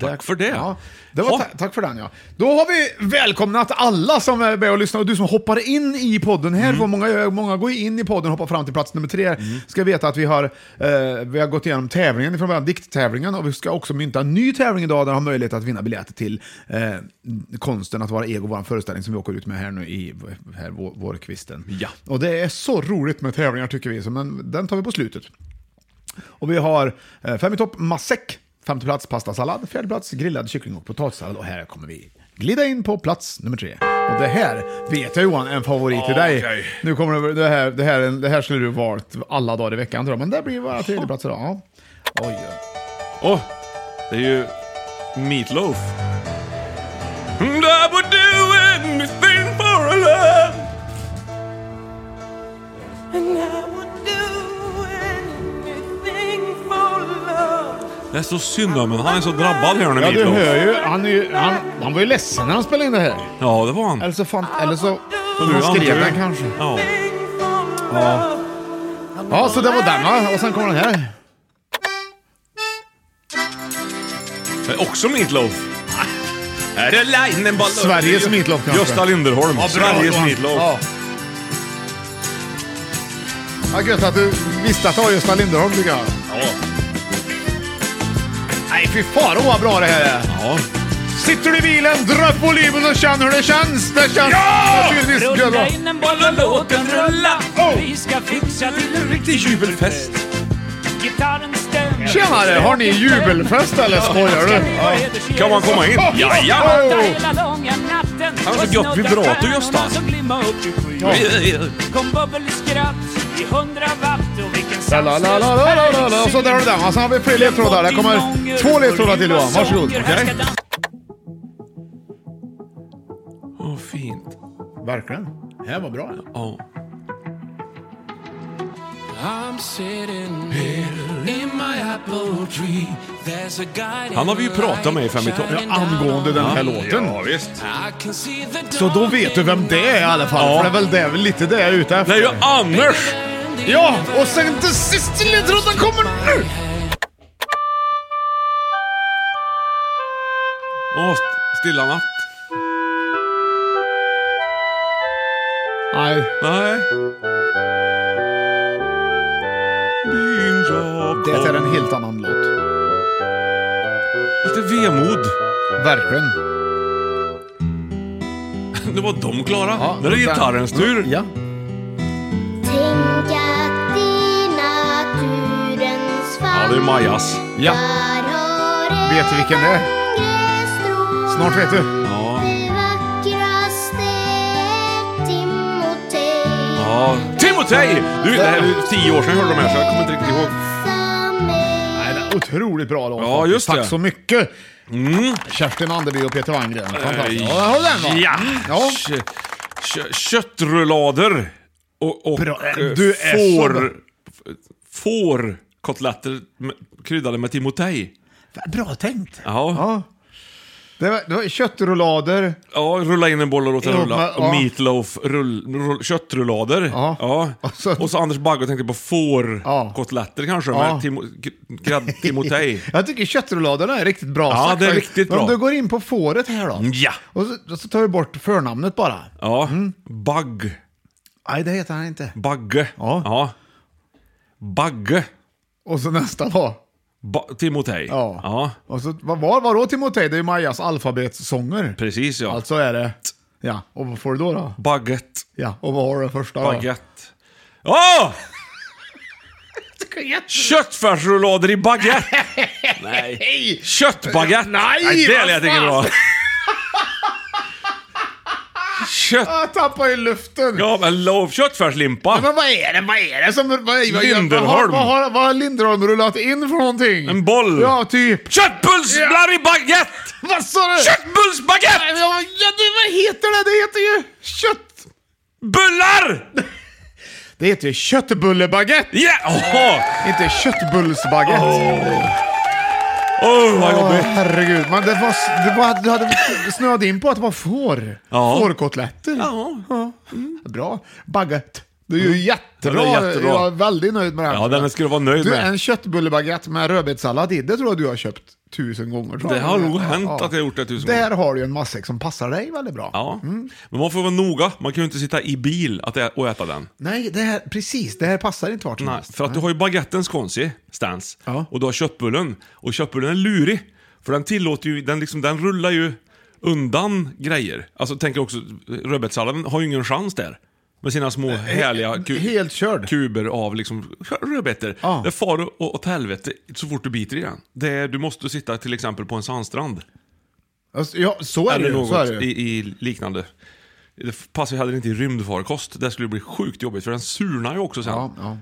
Speaker 1: Tack för det.
Speaker 3: Ja, det var
Speaker 1: Ja.
Speaker 3: ta- tack för den ja. Då har vi välkomnat alla som är med och lyssnar och du som hoppar in i podden här.
Speaker 1: Mm.
Speaker 3: För många, gör- många går in i podden och hoppar fram till plats nummer tre. Ska veta att vi har, eh, vi har gått igenom tävlingen från början, dikttävlingen och vi ska också mynta en ny tävling idag där har möjlighet att vinna biljetter till eh, konsten att vara ego, vår föreställning som vi åker ut med här nu i här, vår, vårkvisten.
Speaker 1: Ja.
Speaker 3: Och det är så roligt med tävlingar tycker vi, så, men den tar vi på slutet. Och vi har eh, fem i topp, matsäck. Femte plats, pastasallad. Fjärde plats, grillad kyckling och potatissallad. Och här kommer vi glida in på plats nummer tre. Och det här vet jag Johan, en favorit till
Speaker 1: Ja,
Speaker 3: dig.
Speaker 1: okej.
Speaker 3: Nu kommer det, det, här, det, här, det här skulle du valt alla dagar i veckan tror jag. Men det blir bara tredje plats idag. Ja. Oj, oj.
Speaker 1: Åh, det är ju Meatloaf. And I would do anything for a love. Det är så synd om honom. Han är så drabbad här nu,
Speaker 3: Ja, du
Speaker 1: Meatloaf.
Speaker 3: hör ju. Han, är ju han, han var ju ledsen när han spelade in det här.
Speaker 1: Ja, det var han.
Speaker 3: Eller så, fan, eller så
Speaker 1: nu är
Speaker 3: han
Speaker 1: han
Speaker 3: skrev
Speaker 1: död.
Speaker 3: den kanske.
Speaker 1: Ja.
Speaker 3: Ja, så det var den va? Och sen kommer den här.
Speaker 1: Det är också Meatloaf. Är det Linebollen?
Speaker 3: Sveriges Meatloaf kanske.
Speaker 1: Gösta Linderholm. Sveriges Meatloaf.
Speaker 3: Ja. Ja, gött att du visste att det var Gösta Linderholm tycker jag.
Speaker 1: Ja.
Speaker 3: Nej, fy fan vad bra det här är.
Speaker 1: Ja.
Speaker 3: Sitter du i bilen, dra upp volymen och känn hur det känns. Det känns
Speaker 1: Ja!
Speaker 3: naturligtvis gött. va?
Speaker 4: in en boll och låt den rulla.
Speaker 3: Oh!
Speaker 4: Vi ska fixa till en
Speaker 1: Riktig jubelfest.
Speaker 4: gitarren stämmer.
Speaker 3: Tjenare, har ni jubelfest eller skojar du? Ja.
Speaker 1: Kan man komma in?
Speaker 3: Oh!
Speaker 1: Jajamän!
Speaker 3: Oh!
Speaker 1: Han har så gött vibrato, Gösta.
Speaker 4: Kom bubbelskratt i hundra watt och vilken
Speaker 3: La, la, la, la, la, la, la, la. Och så där har du den. Och sen alltså, har vi fler ledtrådar. Det kommer två ledtrådar till Johan. Varsågod.
Speaker 4: Okay.
Speaker 1: Åh, fint.
Speaker 3: Verkligen. Det här var bra.
Speaker 1: Ja. Han har vi ju pratat med i Fem i topp.
Speaker 3: Ja, angående den här låten.
Speaker 1: Ja, visst.
Speaker 3: Så då vet du vem det är i alla fall.
Speaker 1: Ja.
Speaker 3: För det är väl det, väl lite det jag är ute
Speaker 1: Det
Speaker 3: efter.
Speaker 1: är ju Anders!
Speaker 3: Ja, och sen den sista ledtråden kommer nu!
Speaker 1: Åh, Stilla natt.
Speaker 3: Nej.
Speaker 1: Nej. Din jobb.
Speaker 3: Det är en helt annan låt.
Speaker 1: Lite vemod.
Speaker 3: Verkligen.
Speaker 1: Nu var de klara. nu är det gitarrens tur.
Speaker 3: Ja.
Speaker 5: Tänk att i naturens famn
Speaker 1: Ja, det är Majas.
Speaker 3: Ja. Vet du vilken det är? Snart vet du.
Speaker 1: Ja. Ja. Timotej! Du, det här är ju tio år sedan jag hörde de här så jag kommer inte riktigt ihåg.
Speaker 3: Nej, det är otroligt bra låt.
Speaker 1: Ja,
Speaker 3: faktiskt.
Speaker 1: just
Speaker 3: Tack
Speaker 1: det. Mm.
Speaker 3: så mycket. Kerstin Anderby och Peter Wanngren. Fantastiskt. Ja, där har du den va?
Speaker 1: Ja.
Speaker 3: Ja.
Speaker 1: Kö- kö- köttrullader och, och
Speaker 3: Bra.
Speaker 1: eh,
Speaker 3: Du är så bra.
Speaker 1: får... Fårkotletter med- kryddade med timotej.
Speaker 3: Bra tänkt.
Speaker 1: Ja.
Speaker 3: Ja. Det var, det var köttrullader.
Speaker 1: ja, rulla in en boll och låt den
Speaker 3: Jo, men,
Speaker 1: rulla.
Speaker 3: ja.
Speaker 1: Och meatloaf, rull, rull, köttrullader.
Speaker 3: Ja.
Speaker 1: Ja.
Speaker 3: Och så-
Speaker 1: Och så Anders Bagge tänkte på fårkotletter kanske,
Speaker 3: Ja.
Speaker 1: med timo, gr- gradd- timotej.
Speaker 3: Jag tycker köttrulladerna är riktigt bra.
Speaker 1: Ja,
Speaker 3: sagt
Speaker 1: det är
Speaker 3: faktiskt.
Speaker 1: riktigt
Speaker 3: Men Om
Speaker 1: bra.
Speaker 3: du går in på fåret här då.
Speaker 1: Ja.
Speaker 3: Och så, så tar vi bort förnamnet bara.
Speaker 1: Ja.
Speaker 3: Mm.
Speaker 1: Bagg.
Speaker 3: Nej, det heter han inte.
Speaker 1: Bagge.
Speaker 3: Ja.
Speaker 1: Bagge.
Speaker 3: Och så nästa var.
Speaker 1: Ba- Timotej.
Speaker 3: Ja. Och så, vad var vad då Timotej? Det är ju Majas alfabetssånger.
Speaker 1: Precis ja.
Speaker 3: Alltså är det... Ja, och vad får du då? då?
Speaker 1: Baguette.
Speaker 3: Ja, och vad har du första då?
Speaker 1: Baguette. Åh! Köttfärsrullader i baguette! Nej. Köttbaguette!
Speaker 3: Nej,
Speaker 1: det
Speaker 3: vad
Speaker 1: lät inte bra. Kött...
Speaker 3: Jag tappar i luften!
Speaker 1: Ja, men lov. Köttfärslimpa.
Speaker 3: Men vad är det, vad är det som... Vad, vad,
Speaker 1: Linderholm.
Speaker 3: Vad har, vad, har, vad har Linderholm rullat in för någonting?
Speaker 1: En boll.
Speaker 3: Ja, typ.
Speaker 1: Köttbullsbullar i baguette!
Speaker 3: Vad sa du?
Speaker 1: Köttbullsbaguette!
Speaker 3: Ja, ja, det, vad heter det? Det heter ju kött...
Speaker 1: Bullar!
Speaker 3: Det heter ju köttbullebaguette!
Speaker 1: Ja! Åh,
Speaker 3: Inte köttbullsbaguette.
Speaker 1: Åh, vad
Speaker 3: Åh,
Speaker 1: jobbigt.
Speaker 3: herregud, men det var, det var, du hade snöat in på att det var får.
Speaker 1: Ja.
Speaker 3: Fårkotletter. Mm.
Speaker 1: Ja.
Speaker 3: Bra. Baguette. Du är ju jättebra.
Speaker 1: Den är jättebra.
Speaker 3: Jag är väldigt nöjd med det här.
Speaker 1: Ja, den skulle jag vara nöjd
Speaker 3: du,
Speaker 1: med.
Speaker 3: en köttbullebaguette med rödbetssallad i, det tror jag du har köpt tusen gånger. tror
Speaker 1: Det
Speaker 3: jag.
Speaker 1: har nog hänt att jag har gjort det tusen
Speaker 3: Där
Speaker 1: gånger.
Speaker 3: har du ju en matsäck som passar dig väldigt bra.
Speaker 1: Ja.
Speaker 3: Mm.
Speaker 1: Men man får vara noga. Man kan ju inte sitta i bil att ä- och äta den.
Speaker 3: Nej, det här, precis. Det här passar inte vart som
Speaker 1: Nej,
Speaker 3: helst.
Speaker 1: för att du har ju baguettens konsi stans
Speaker 3: Ja.
Speaker 1: och du har köttbullen. Och köttbullen är lurig, för den tillåter ju, den, liksom, den rullar ju undan grejer. Alltså tänk också, rödbetssalladen har ju ingen chans där. Med sina små härliga ku-
Speaker 3: Eh, helt körd.
Speaker 1: kuber av liksom rödbetor.
Speaker 3: Ja.
Speaker 1: Det far å- åt helvete så fort du biter i den. Det är, du måste sitta till exempel på en sandstrand.
Speaker 3: Alltså, ja, så är det
Speaker 1: Eller
Speaker 3: ju. Så är
Speaker 1: något
Speaker 3: det ju.
Speaker 1: i, i liknande. Det passar ju heller inte i rymdfarkost. Det skulle bli sjukt jobbigt för den surnar ju också sen.
Speaker 3: Ja, ja.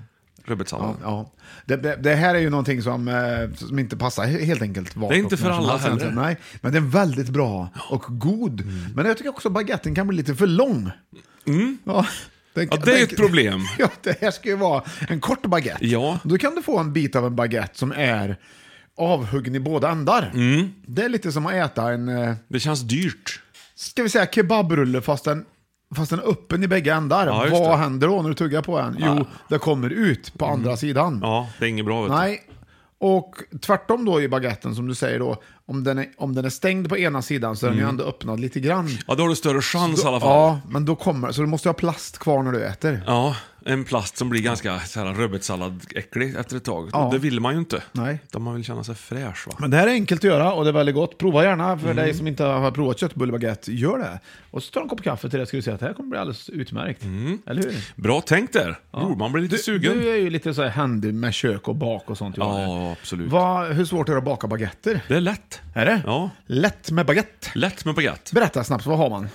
Speaker 1: Rödbetssalladen.
Speaker 3: Ja, det, det, det här är ju någonting som, eh, som inte passar he- helt enkelt. vart
Speaker 1: Det är inte
Speaker 3: och
Speaker 1: för
Speaker 3: när som
Speaker 1: alla
Speaker 3: helst
Speaker 1: heller. Mm.
Speaker 3: egentligen. Nej, men den är väldigt bra och god. Men jag tycker också baguetten kan bli lite för lång. Ja, den-
Speaker 1: Mm. Ja, det är
Speaker 3: den-
Speaker 1: ett problem.
Speaker 3: Ja, det här ska ju vara en kort baguette.
Speaker 1: Ja.
Speaker 3: Då kan du få en bit av en baguette som är avhuggen i båda ändar.
Speaker 1: Mm.
Speaker 3: Det är lite som att äta en, eh,
Speaker 1: Det känns dyrt.
Speaker 3: ska vi säga kebabrulle fast den, fast den är öppen i bägge ändar.
Speaker 1: Ja, just
Speaker 3: Vad
Speaker 1: det. Mm.
Speaker 3: händer då när du tuggar på den? Jo, det kommer ut på andra sidan.
Speaker 1: Ja, det är inget bra vet du.
Speaker 3: Nej, och tvärtom då i baguetten som du säger då, om den är, om den är stängd på ena sidan så är den ju ändå öppnad lite grann.
Speaker 1: Ja, då har du större chans i Mm. alla fall. Ja.
Speaker 3: Ja, men då kommer så du måste ha plast kvar när du äter.
Speaker 1: en plast som blir ganska så här rödbetssalladäcklig efter ett tag.
Speaker 3: Ja.
Speaker 1: Det vill man ju inte.
Speaker 3: Nej.
Speaker 1: Utan man vill känna sig fräsch va?
Speaker 3: Men det här är enkelt att göra och det är väldigt gott. Prova gärna
Speaker 1: Mm.
Speaker 3: för dig som inte har provat köttbullebaguette, gör det. Och så tar du en kopp kaffe till det ska du se att det här kommer bli alldeles utmärkt.
Speaker 1: Mm.
Speaker 3: Eller hur?
Speaker 1: Bra tänkt där. Jo, man blir lite sugen.
Speaker 3: Du är ju lite så här handy med kök och bak och sånt. Johan.
Speaker 1: Ja, absolut.
Speaker 3: Vad, hur svårt är det att baka baguetter?
Speaker 1: Det är lätt.
Speaker 3: Är det?
Speaker 1: Ja.
Speaker 3: Lätt med baguette.
Speaker 1: Lätt med baguette.
Speaker 3: Berätta snabbt, vad har man?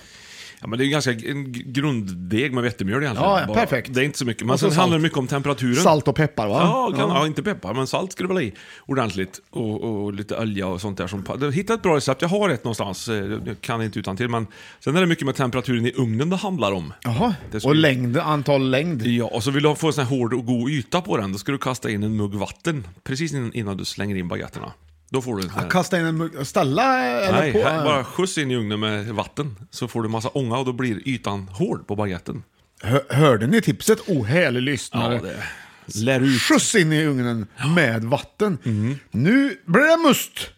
Speaker 1: Ja, men det är ju ganska en g- grunddeg med vetemjöl egentligen.
Speaker 3: Ja, ja,
Speaker 1: Bara-
Speaker 3: perfekt.
Speaker 1: Det är inte så mycket. Men
Speaker 3: Och så
Speaker 1: sen handlar
Speaker 3: salt.
Speaker 1: det mycket om temperaturen.
Speaker 3: Salt och peppar va?
Speaker 1: Ja, kan, ja. inte peppar, men salt skulle väl ha i ordentligt. Och, och lite olja och sånt där. Som, pa- jag hittade ett bra recept, jag har ett någonstans. eh, Jag kan inte utan till men sen är det mycket med temperaturen i ugnen det handlar om.
Speaker 3: Jaha,
Speaker 1: Det ska
Speaker 3: och
Speaker 1: ju-
Speaker 3: längd, antal längd.
Speaker 1: Ja, och så vill du få en sån här hård och god yta på den, då ska du kasta in en mugg vatten precis in- innan du slänger in baguetterna. Då får du en sån här...
Speaker 3: Kasta in en mugg, ställa eller
Speaker 1: Nej,
Speaker 3: på?
Speaker 1: här, bara skjuts in i ugnen med vatten så får du massa ånga och då blir ytan hård på baguetten.
Speaker 3: Hör- Hörde ni tipset? Oh, härlig lyssnare.
Speaker 1: Lär ut.
Speaker 3: Skjuts in i ugnen med vatten.
Speaker 1: Mm.
Speaker 3: Nu blir det must!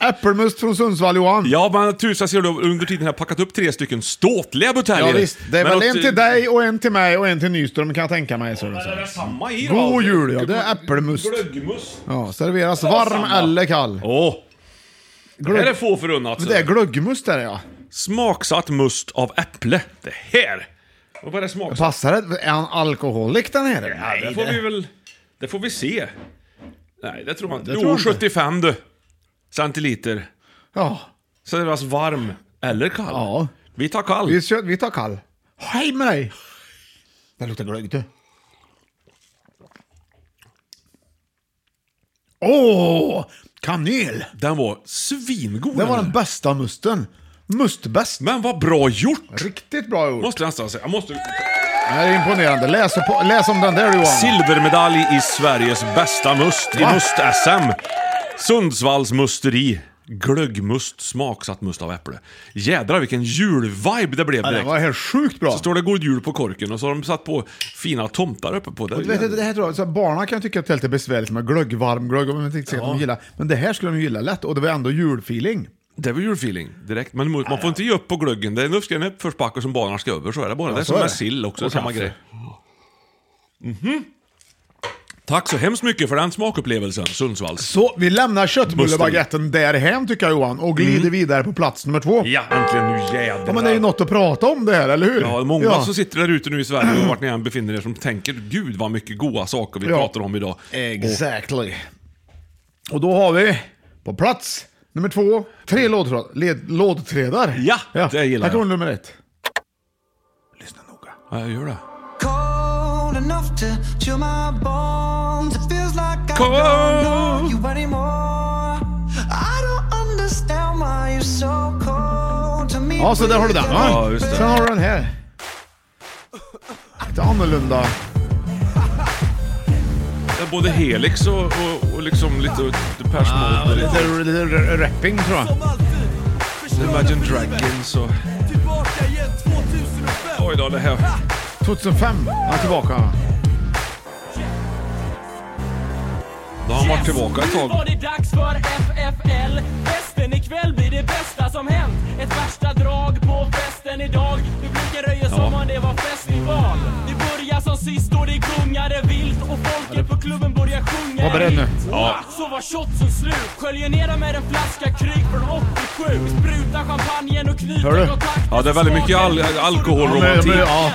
Speaker 3: Äppelmust från Sundsvall Johan.
Speaker 1: Ja, men tusan ser du under tiden har jag packat upp tre stycken ståtliga buteljer.
Speaker 3: Ja, visst, det är väl
Speaker 1: Men åt-
Speaker 3: en till dig och en till mig och en till Nyström kan jag tänka mig. Så det
Speaker 1: Ja, det är
Speaker 3: sägs.
Speaker 1: samma i då.
Speaker 3: God jul ja, det är äppelmust.
Speaker 1: Glöggmust.
Speaker 3: Ja, serveras varm
Speaker 1: samma.
Speaker 3: eller kall.
Speaker 1: Åh, det här är
Speaker 3: Glögg...
Speaker 1: få förunnat.
Speaker 3: Det är glöggmust där ja.
Speaker 1: Smaksatt must av äpple. Det här! Och vad är det smaksatt?
Speaker 3: Passar det? Är han alkoholik den här?
Speaker 1: Ja, det får vi väl... Det får vi se. Nej, det tror man inte.
Speaker 3: tror
Speaker 1: Jo,
Speaker 3: jag
Speaker 1: 75 du. Centiliter.
Speaker 3: Ja.
Speaker 1: Serveras alltså varm eller kall.
Speaker 3: Ja.
Speaker 1: Vi tar kall.
Speaker 3: Vi, kör, vi tar kall. Hej med dig! Det luktar glögg du. Åh! Kanel!
Speaker 1: Den var svingod.
Speaker 3: Det var
Speaker 1: den
Speaker 3: den
Speaker 1: där.
Speaker 3: bästa musten. Mustbäst.
Speaker 1: Men vad bra gjort!
Speaker 3: Riktigt bra gjort.
Speaker 1: Måste jag nästan säga. Jag måste...
Speaker 3: Det här är imponerande. Läs, på, läs om den där Johan.
Speaker 1: Silvermedalj i Sveriges bästa must i
Speaker 3: Va?
Speaker 1: must-SM. Sundsvalls musteri. Glöggmust, smaksatt must av äpple. Jädrar vilken julvibe det blev
Speaker 3: Ja, den
Speaker 1: direkt.
Speaker 3: var helt sjukt bra.
Speaker 1: Så står det God Jul på korken och så har de satt på fina tomtar uppe på det.
Speaker 3: Du vet, det här tror jag, så här, barnen kan tycka att det är lite besvärligt med glögg, varm glögg, om man inte säkert de gillar. Men det här skulle de gilla lätt och det var ändå julfeeling.
Speaker 1: Det var julfeeling direkt. Men mo- man får inte ge upp på glöggen. Det är en uppskrivning i en uppförsbacke som barnen ska över. Så är det bara. det är
Speaker 3: så
Speaker 1: som
Speaker 3: är
Speaker 1: med
Speaker 3: det.
Speaker 1: sill också.
Speaker 3: Och
Speaker 1: samma
Speaker 3: kaffe.
Speaker 1: grej. Mhm. Tack så hemskt mycket för den smakupplevelsen, Sundsvalls.
Speaker 3: Så vi lämnar köttbullebaguetten därhen tycker jag Johan och glider vidare på plats nummer två.
Speaker 1: Ja, äntligen. Nu jädrar.
Speaker 3: Ja, men det är ju något att prata om det här, eller hur?
Speaker 1: Ja, många som sitter där ute nu i Sverige och vart ni än befinner er som tänker gud vad mycket goda saker vi
Speaker 3: Ja.
Speaker 1: pratar om idag.
Speaker 3: Exactly. Och då har vi på plats nummer två, tre lådtråd, led, lådträdar.
Speaker 1: Ja, det gillar
Speaker 3: Här kommer
Speaker 1: jag.
Speaker 3: nummer ett. Lyssna noga.
Speaker 1: Ja, jag gör det.
Speaker 4: Cold enough to chill my bones. It feels like I don't know
Speaker 1: Cold.
Speaker 4: you anymore. I don't understand why you're so cold to me.
Speaker 3: Ja, så där har du den va?
Speaker 1: Ja, just det.
Speaker 3: Sen har du den här. Lite annorlunda.
Speaker 1: Det är både Helix och, och, och liksom lite Depeche Mode
Speaker 3: Ah,
Speaker 1: och lite
Speaker 3: Lite, lite r- rapping tror jag.
Speaker 1: Imagine Dragons och... Oj då, det här...
Speaker 3: 2005 är han tillbaka.
Speaker 1: Då har han varit tillbaka ett tag.
Speaker 7: det dags för FFL. Festen ikväll blir det bästa som hänt. Ett värsta drag på festen idag. Publiken röjer som om det var festival. Det börjar som sist och det gungade vilt och folket på klubben börjar sjunga
Speaker 3: Var beredd nu.
Speaker 1: Ja.
Speaker 7: Så var shotsen slut. Sköljer ner dem med en flaska kryg från 87. Spruta champagnen och knyter
Speaker 3: Hör du?
Speaker 7: kontakten.
Speaker 1: Ja, det är väldigt mycket al alkoholromantik.
Speaker 3: men- men- ja.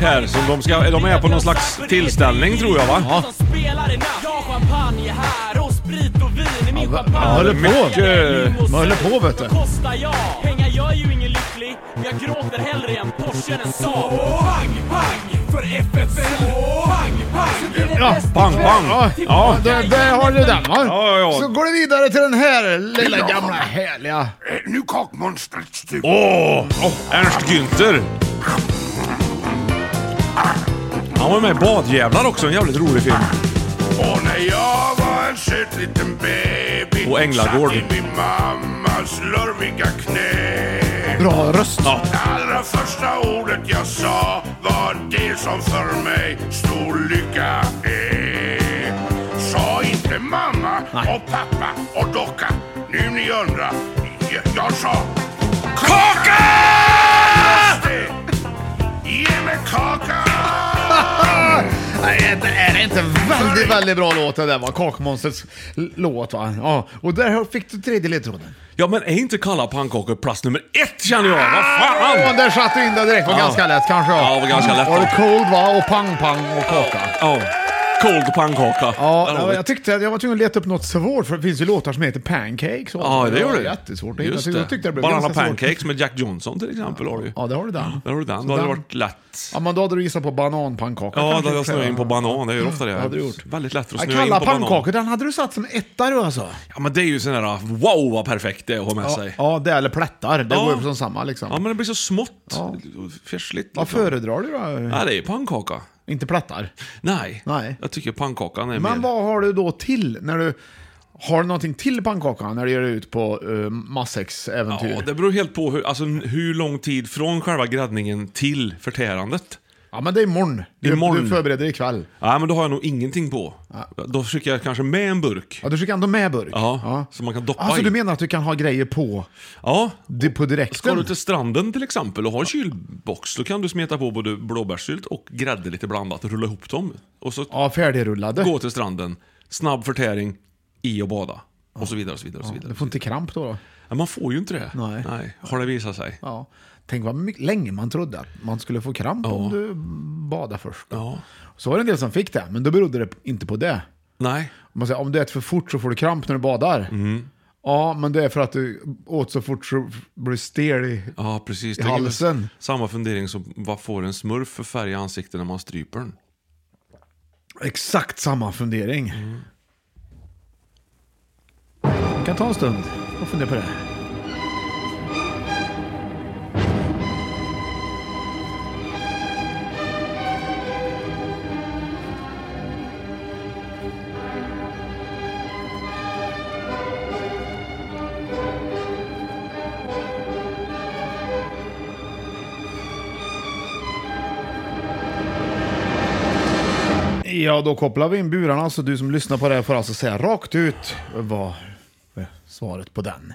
Speaker 1: Här, som de ska- de är på någon slags tillställning, tror jag, va?
Speaker 7: Ja. Jag champagne här och sprit och vin i min
Speaker 3: va-
Speaker 7: champagne.
Speaker 3: vad håller på?
Speaker 7: Mycket-
Speaker 3: Vad håller på, vet du?
Speaker 7: Vad kostar jag? Pengar gör ju ingen lycklig. Jag gråter hellre i en Porsche än en Saab. Pang, pang för FFL. Pang, pang.
Speaker 3: Ja,
Speaker 1: Pang, pang! Ja.
Speaker 3: Där, där har du den va?
Speaker 1: Ja, ja, ja.
Speaker 3: Så går det vidare till den här lilla gamla härliga.
Speaker 6: Eh, Nu kakmonstret styr.
Speaker 1: Åh! åh, Ernst Günther! Han var med i Badjävlar också, en jävligt rolig film.
Speaker 6: Och när jag var en söt liten baby
Speaker 1: Och Änglagård.
Speaker 6: satt i min mammas lurviga knä
Speaker 3: Bra röst.
Speaker 1: Ja.
Speaker 6: Allra första ordet jag sa var det som för mig stor lycka är Sa inte mamma och pappa och docka Nu ni undrar, jag, jag sa KAKA! Just det. Ge mig kaka!
Speaker 3: Nej, det Är det inte väldigt, väldigt bra låt det där va? Kakmonstrets l- låt va? Ja, och där fick du tredje ledtråden.
Speaker 1: Ja, men är inte kalla pannkakor plats nummer ett känner jag? Vad fan!
Speaker 3: Och där satte du in det direkt, var
Speaker 1: Ja.
Speaker 3: ganska lätt kanske. Mm.
Speaker 1: Ja, det var ganska lätt.
Speaker 3: Var det cold va? Och pang pang och kaka.
Speaker 1: Ja. Cold pannkaka.
Speaker 3: Ja,
Speaker 1: Där har vi.
Speaker 3: jag tyckte att jag var tvungen att leta upp något svårt för det finns ju låtar som heter Pancakes. och-
Speaker 1: Ja, det gjorde
Speaker 3: var
Speaker 1: du.
Speaker 3: Jättesvårt att hitta.
Speaker 1: Just
Speaker 3: Så Jag tyckte det blev
Speaker 1: Banana
Speaker 3: ganska svårt.
Speaker 1: pancakes med Jack Johnson till exempel har du ju.
Speaker 3: Ja, där har du den.
Speaker 1: Där har du den.
Speaker 3: Så
Speaker 1: Då hade det varit lätt.
Speaker 3: Ja, men då hade du gissat på bananpannkaka.
Speaker 1: Ja, då
Speaker 3: kanske
Speaker 1: hade jag
Speaker 3: också.
Speaker 1: snöat in på banan. Jag gör ofta det.
Speaker 3: Det hade du gjort.
Speaker 1: Väldigt lätt för att
Speaker 3: Ja,
Speaker 1: snöa in på
Speaker 3: Kalla
Speaker 1: banan.
Speaker 3: pannkakor, den hade du satt som etta du alltså.
Speaker 1: Ja, men det är ju sån där wow vad perfekt det är att ha med sig.
Speaker 3: Ja, det eller plättar. Det
Speaker 1: Ja.
Speaker 3: går ju som samma liksom.
Speaker 1: Ja, men det blir så smått.
Speaker 3: Ja.
Speaker 1: och Färsligt.
Speaker 3: Vad föredrar du då?
Speaker 1: Ja, det är ju pannkaka.
Speaker 3: Inte plättar.
Speaker 1: Nej.
Speaker 3: Nej.
Speaker 1: Jag tycker pannkakan är
Speaker 3: Men
Speaker 1: mer...
Speaker 3: vad har du då till när du... Har du någonting till pannkakan när du ger dig ut på uh, massex-äventyr?
Speaker 1: Ja, det beror helt på hur, alltså, hur lång tid från själva gräddningen till förtärandet.
Speaker 3: Ja, men det är imorgon. Du,
Speaker 1: Imorgon.
Speaker 3: du förbereder dig ikväll.
Speaker 1: Nej, men då har jag nog ingenting på. Då skickar jag kanske med en burk.
Speaker 3: Ja, du skickar ändå med burk?
Speaker 1: Ja, så man kan doppa
Speaker 3: Alltså
Speaker 1: i.
Speaker 3: du menar att du kan ha grejer på,
Speaker 1: Ja.
Speaker 3: di- på direkten?
Speaker 1: Ska du till stranden till exempel och har en kylbox, då kan du smeta på både blåbärssylt och grädde lite blandat och rulla ihop dem. Och så
Speaker 3: Ja, färdigrullade.
Speaker 1: gå till stranden, snabb förtäring, i och bada. Och så vidare, och så vidare, och så
Speaker 3: Du
Speaker 1: vidare.
Speaker 3: får inte kramp då? då.
Speaker 1: Men man får ju inte det.
Speaker 3: Nej.
Speaker 1: har det visat sig.
Speaker 3: Ja. Tänk vad mycket, länge man trodde att man skulle få kramp om du badade först.
Speaker 1: Ja.
Speaker 3: Så var det en del som fick det, men då berodde det inte på det.
Speaker 1: Nej.
Speaker 3: Man säger, om du äter för fort så får du kramp när du badar. Ja, men det är för att du åt så fort så blir du stel i...
Speaker 1: Ja, precis.
Speaker 3: I
Speaker 1: Det är väl
Speaker 3: halsen.
Speaker 1: Samma fundering som vad får en smurf för färg i ansiktet när man stryper den?
Speaker 3: Exakt samma fundering. kan ta en stund och fundera på det. Ja, då kopplar vi in burarna så du som lyssnar på det här får alltså säga rakt ut vad är svaret på den.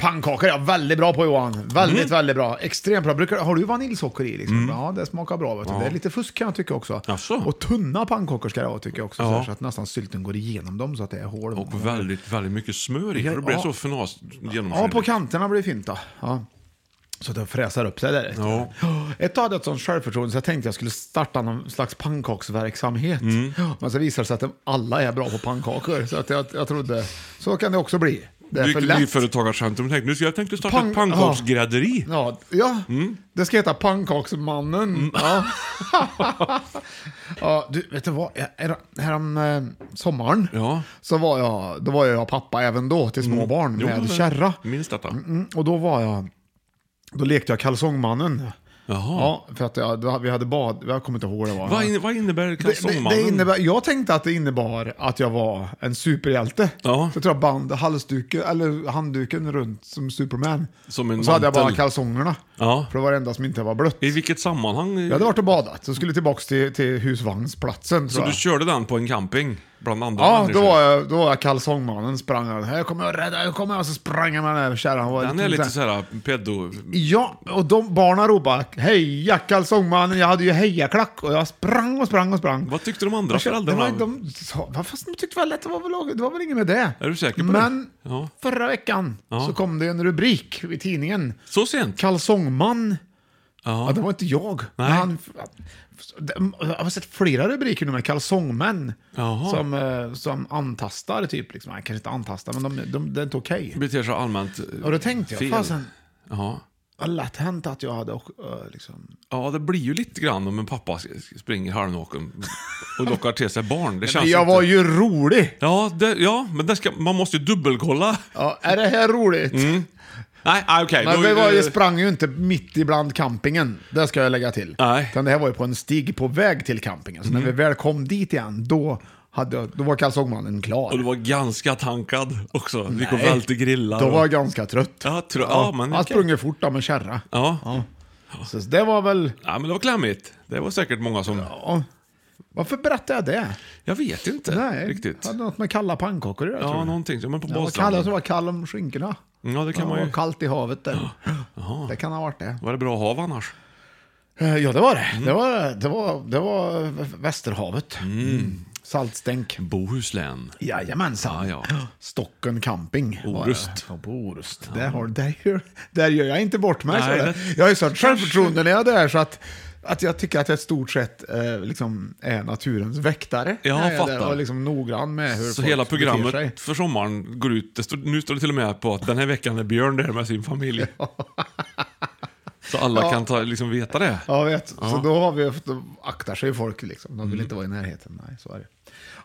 Speaker 3: Pannkakor är jag väldigt bra på Johan. Väldigt,
Speaker 1: Mm.
Speaker 3: väldigt bra. Extremt bra. Brukar, har du vaniljsocker i? Liksom?
Speaker 1: Mm.
Speaker 3: Ja, det smakar bra. Vet du.
Speaker 1: Ja.
Speaker 3: Det är lite fusk kan jag tycka också. Och tunna pannkakor ska det vara tycker jag också.
Speaker 1: Ja.
Speaker 3: Så, här, så att nästan sylten går igenom dem så att det är hål.
Speaker 1: Och väldigt, väldigt mycket smör i.
Speaker 3: Ja,
Speaker 1: för det blir
Speaker 3: ja.
Speaker 1: så fnas
Speaker 3: Ja,
Speaker 1: genomskinligt.
Speaker 3: på kanterna blir det fint då. Ja. Så det fräsar upp sig där. Ja. Ett tag hade jag ett sånt självförtroende så jag tänkte jag skulle starta någon slags pannkaksverksamhet. Men så visade det sig att de alla är bra på pannkakor. Så att jag, jag trodde, så kan det också bli. Det är för
Speaker 1: Vilket
Speaker 3: lätt.
Speaker 1: nyföretagarskämt. De tänkte, nu ska jag tänkte starta
Speaker 3: Pang-
Speaker 1: ett pannkaksgrädderi.
Speaker 3: Ja, ja. det ska heta pannkaksmannen. Ja. ja, du, vet du vad? Jag- här- Härom eh, sommaren så var jag, då var jag pappa även då till små barn
Speaker 1: Jo,
Speaker 3: med
Speaker 1: det-
Speaker 3: kärra.
Speaker 1: Minns detta.
Speaker 3: Mm, och då var jag... Då lekte jag kalsongmannen. Ja, för att jag, då- vi hade bad... Jag kommer inte ihåg det var.
Speaker 1: Vad, in, vad innebär
Speaker 3: det, det, det
Speaker 1: kalsongmannen?
Speaker 3: innebär, jag tänkte att det innebar att jag var en superhjälte. Så jag tror jag band halsduken, eller handduken runt som Superman.
Speaker 1: Som en
Speaker 3: och så hade jag bara
Speaker 1: mantel.
Speaker 3: kalsongerna.
Speaker 1: Ja.
Speaker 3: För det var det enda som inte var blött.
Speaker 1: I vilket sammanhang?
Speaker 3: Jag hade varit och badat, så skulle jag tillbaka till, till husvagnsplatsen.
Speaker 1: så
Speaker 3: tror
Speaker 1: du
Speaker 3: jag.
Speaker 1: körde den på en camping? Bland andra
Speaker 3: Ja, då
Speaker 1: människor?
Speaker 3: var, jag, då var jag kalsongmannen, sprang han. Här kommer jag rädda, här kommer jag. Så sprang jag med den här kärran. Han var
Speaker 1: Den är lite så här pedo...
Speaker 3: Ja, och de barnen ropade heja kalsongmannen, jag hade ju hejaklack och jag sprang och sprang och sprang.
Speaker 1: Vad tyckte de andra
Speaker 3: Jag kö-
Speaker 1: föräldrarna?
Speaker 3: De, de, sa, "Va, fast de tyckte väl att det var väl, det var väl inget med det.
Speaker 1: Är du säker på
Speaker 3: Men
Speaker 1: det? Ja.
Speaker 3: förra veckan
Speaker 1: Ja.
Speaker 3: så kom det en rubrik i tidningen.
Speaker 1: Så sent?
Speaker 3: Kalsongman. Ja. det var inte jag.
Speaker 1: Nej.
Speaker 3: Men Han, de- jag har sett flera rubriker nu med kalsongmän
Speaker 1: Jaha.
Speaker 3: som, eh, som antastar typ. Liksom. Nej, kanske inte antastar, men de, de, det är inte okej.
Speaker 1: Beter sig allmänt eh,
Speaker 3: Och då tänkte jag,
Speaker 1: fel.
Speaker 3: fasen.
Speaker 1: Ja.
Speaker 3: Vad lätt hänt att jag hade och, eh, liksom...
Speaker 1: ja, det blir ju lite grann om en pappa sk- springer halvnaken och lockar till sig barn. Det känns
Speaker 3: jag
Speaker 1: inte...
Speaker 3: var ju rolig!
Speaker 1: Ja, det, ja men det ska, man måste ju dubbelkolla.
Speaker 3: Ja, är det här roligt?
Speaker 1: Mm. Nej, ah, okej.
Speaker 3: Men
Speaker 1: då-
Speaker 3: vi var,
Speaker 1: eh,
Speaker 3: jag sprang ju inte mitt ibland campingen, det ska jag lägga till.
Speaker 1: Nej. Mm.
Speaker 3: Utan det här var ju på en stig på väg till campingen, så när vi väl kom dit igen, då, hade, jag- då var kalsongmannen klar.
Speaker 1: Och du var ganska tankad också. Du gick och
Speaker 3: Nej.
Speaker 1: välte grillar.
Speaker 3: Då
Speaker 1: och-
Speaker 3: var jag ganska trött.
Speaker 1: Ja, tro, ja, men
Speaker 3: Han
Speaker 1: okej.
Speaker 3: sprang ju fort då med kärra.
Speaker 1: Ja.
Speaker 3: Så det var väl...
Speaker 1: Ja, men det var klämmigt. Det var säkert många som...
Speaker 3: Ja. Varför berättade jag det?
Speaker 1: Jag vet inte
Speaker 3: Nej,
Speaker 1: riktigt.
Speaker 3: hade något med kalla pannkakor att göra
Speaker 1: Ja,
Speaker 3: tror jag.
Speaker 1: någonting. Ja, Men på
Speaker 3: Jag var kall, jag
Speaker 1: badstranden.
Speaker 3: tror jag var kall om skinkorna.
Speaker 1: Ja, det kan
Speaker 3: det
Speaker 1: man
Speaker 3: var
Speaker 1: ju...
Speaker 3: kallt i havet där. Det kan ha varit det.
Speaker 1: Var det bra hav annars?
Speaker 3: Eh, Ja, det var det.
Speaker 1: Mm.
Speaker 3: Det, var, det, var, det var Vä- Västerhavet. Mm. Saltstänk.
Speaker 1: Bohuslän.
Speaker 3: Jajamensan.
Speaker 1: Ja, ja.
Speaker 3: Stocken camping. var
Speaker 1: Orust.
Speaker 3: det. Ja, på Orust. Där, har, där, gör, där gör jag inte bort mig.
Speaker 1: Nej,
Speaker 3: så är det.
Speaker 1: det-
Speaker 3: Jag har ju sånt självförtroende när jag är där så att, att jag tycker att jag i stort sett eh, liksom är naturens väktare.
Speaker 1: Ja,
Speaker 3: När jag är
Speaker 1: fattar.
Speaker 3: där Och liksom noggrann med hur
Speaker 1: Så
Speaker 3: folk
Speaker 1: hela
Speaker 3: beter sig.
Speaker 1: programmet för sommaren går ut. Det står, nu står det till och med på att den här veckan är Björn där med sin familj. Så alla
Speaker 3: Ja.
Speaker 1: kan ta, liksom veta det.
Speaker 3: Ja, jag vet. Så
Speaker 1: Ja. Mm.
Speaker 3: då har vi, då aktar sig folk liksom. De vill inte vara i närheten. Nej, så är det.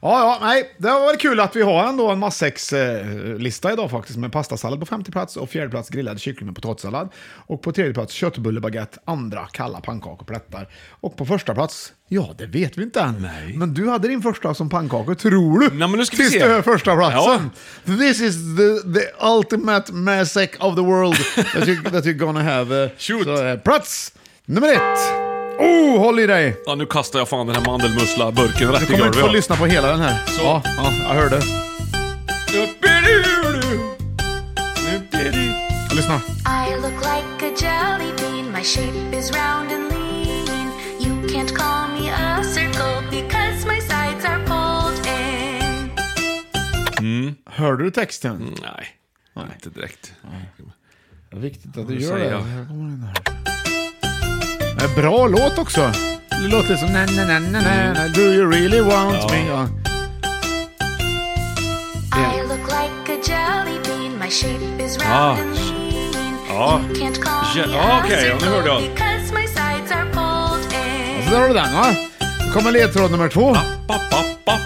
Speaker 3: Ja, ja, nej. Det var väl kul att vi har ändå en matsex-lista idag faktiskt. Med pastasallad på femte plats och fjärde plats grillad kyckling med potatissallad. Och på tredje plats köttbullebaguette, andra kalla pannkakor, plättar. Och på första plats, ja det vet vi inte än. Men du hade din första som pannkakor, tror du?
Speaker 1: Nej, men nu ska vi
Speaker 3: Sist
Speaker 1: se.
Speaker 3: över första platsen. This is the, the ultimate matsex of the world that, you, that you're gonna have. eh,
Speaker 1: Shoot.
Speaker 3: så, eh, plats nummer ett. Oh, håll i dig!
Speaker 1: Ja, nu kastar jag fan den här mandelmussla-burken rätt
Speaker 3: Du kommer
Speaker 1: i golvet.
Speaker 3: inte få
Speaker 1: ja.
Speaker 3: lyssna på hela den här.
Speaker 1: Så.
Speaker 3: Ja, ja, jag hörde. Lyssna.
Speaker 8: I look like a jelly bean. My shape is round and lean. You can't call me a circle because my sides are pulled in.
Speaker 3: Hörde du texten?
Speaker 1: Nej, inte direkt.
Speaker 3: Det är viktigt att
Speaker 1: Nu
Speaker 3: du gör
Speaker 1: säger
Speaker 3: det.
Speaker 1: jag.
Speaker 3: Här kommer den här. En bra låt också. Det låter som na na na na na Do you really want
Speaker 8: Ja.
Speaker 3: me? Ja.
Speaker 8: I look like a jelly bean. My shape is
Speaker 1: Ja.
Speaker 8: round and lean.
Speaker 1: Ja.
Speaker 8: You can't call
Speaker 1: Ja,
Speaker 8: me a
Speaker 1: okej, ja, nu hörde
Speaker 8: circle
Speaker 1: jag.
Speaker 8: because my sides are pulled in.
Speaker 3: Så där har du den va? Nu kommer ledtråd nummer två.
Speaker 1: Pa, pa, pa.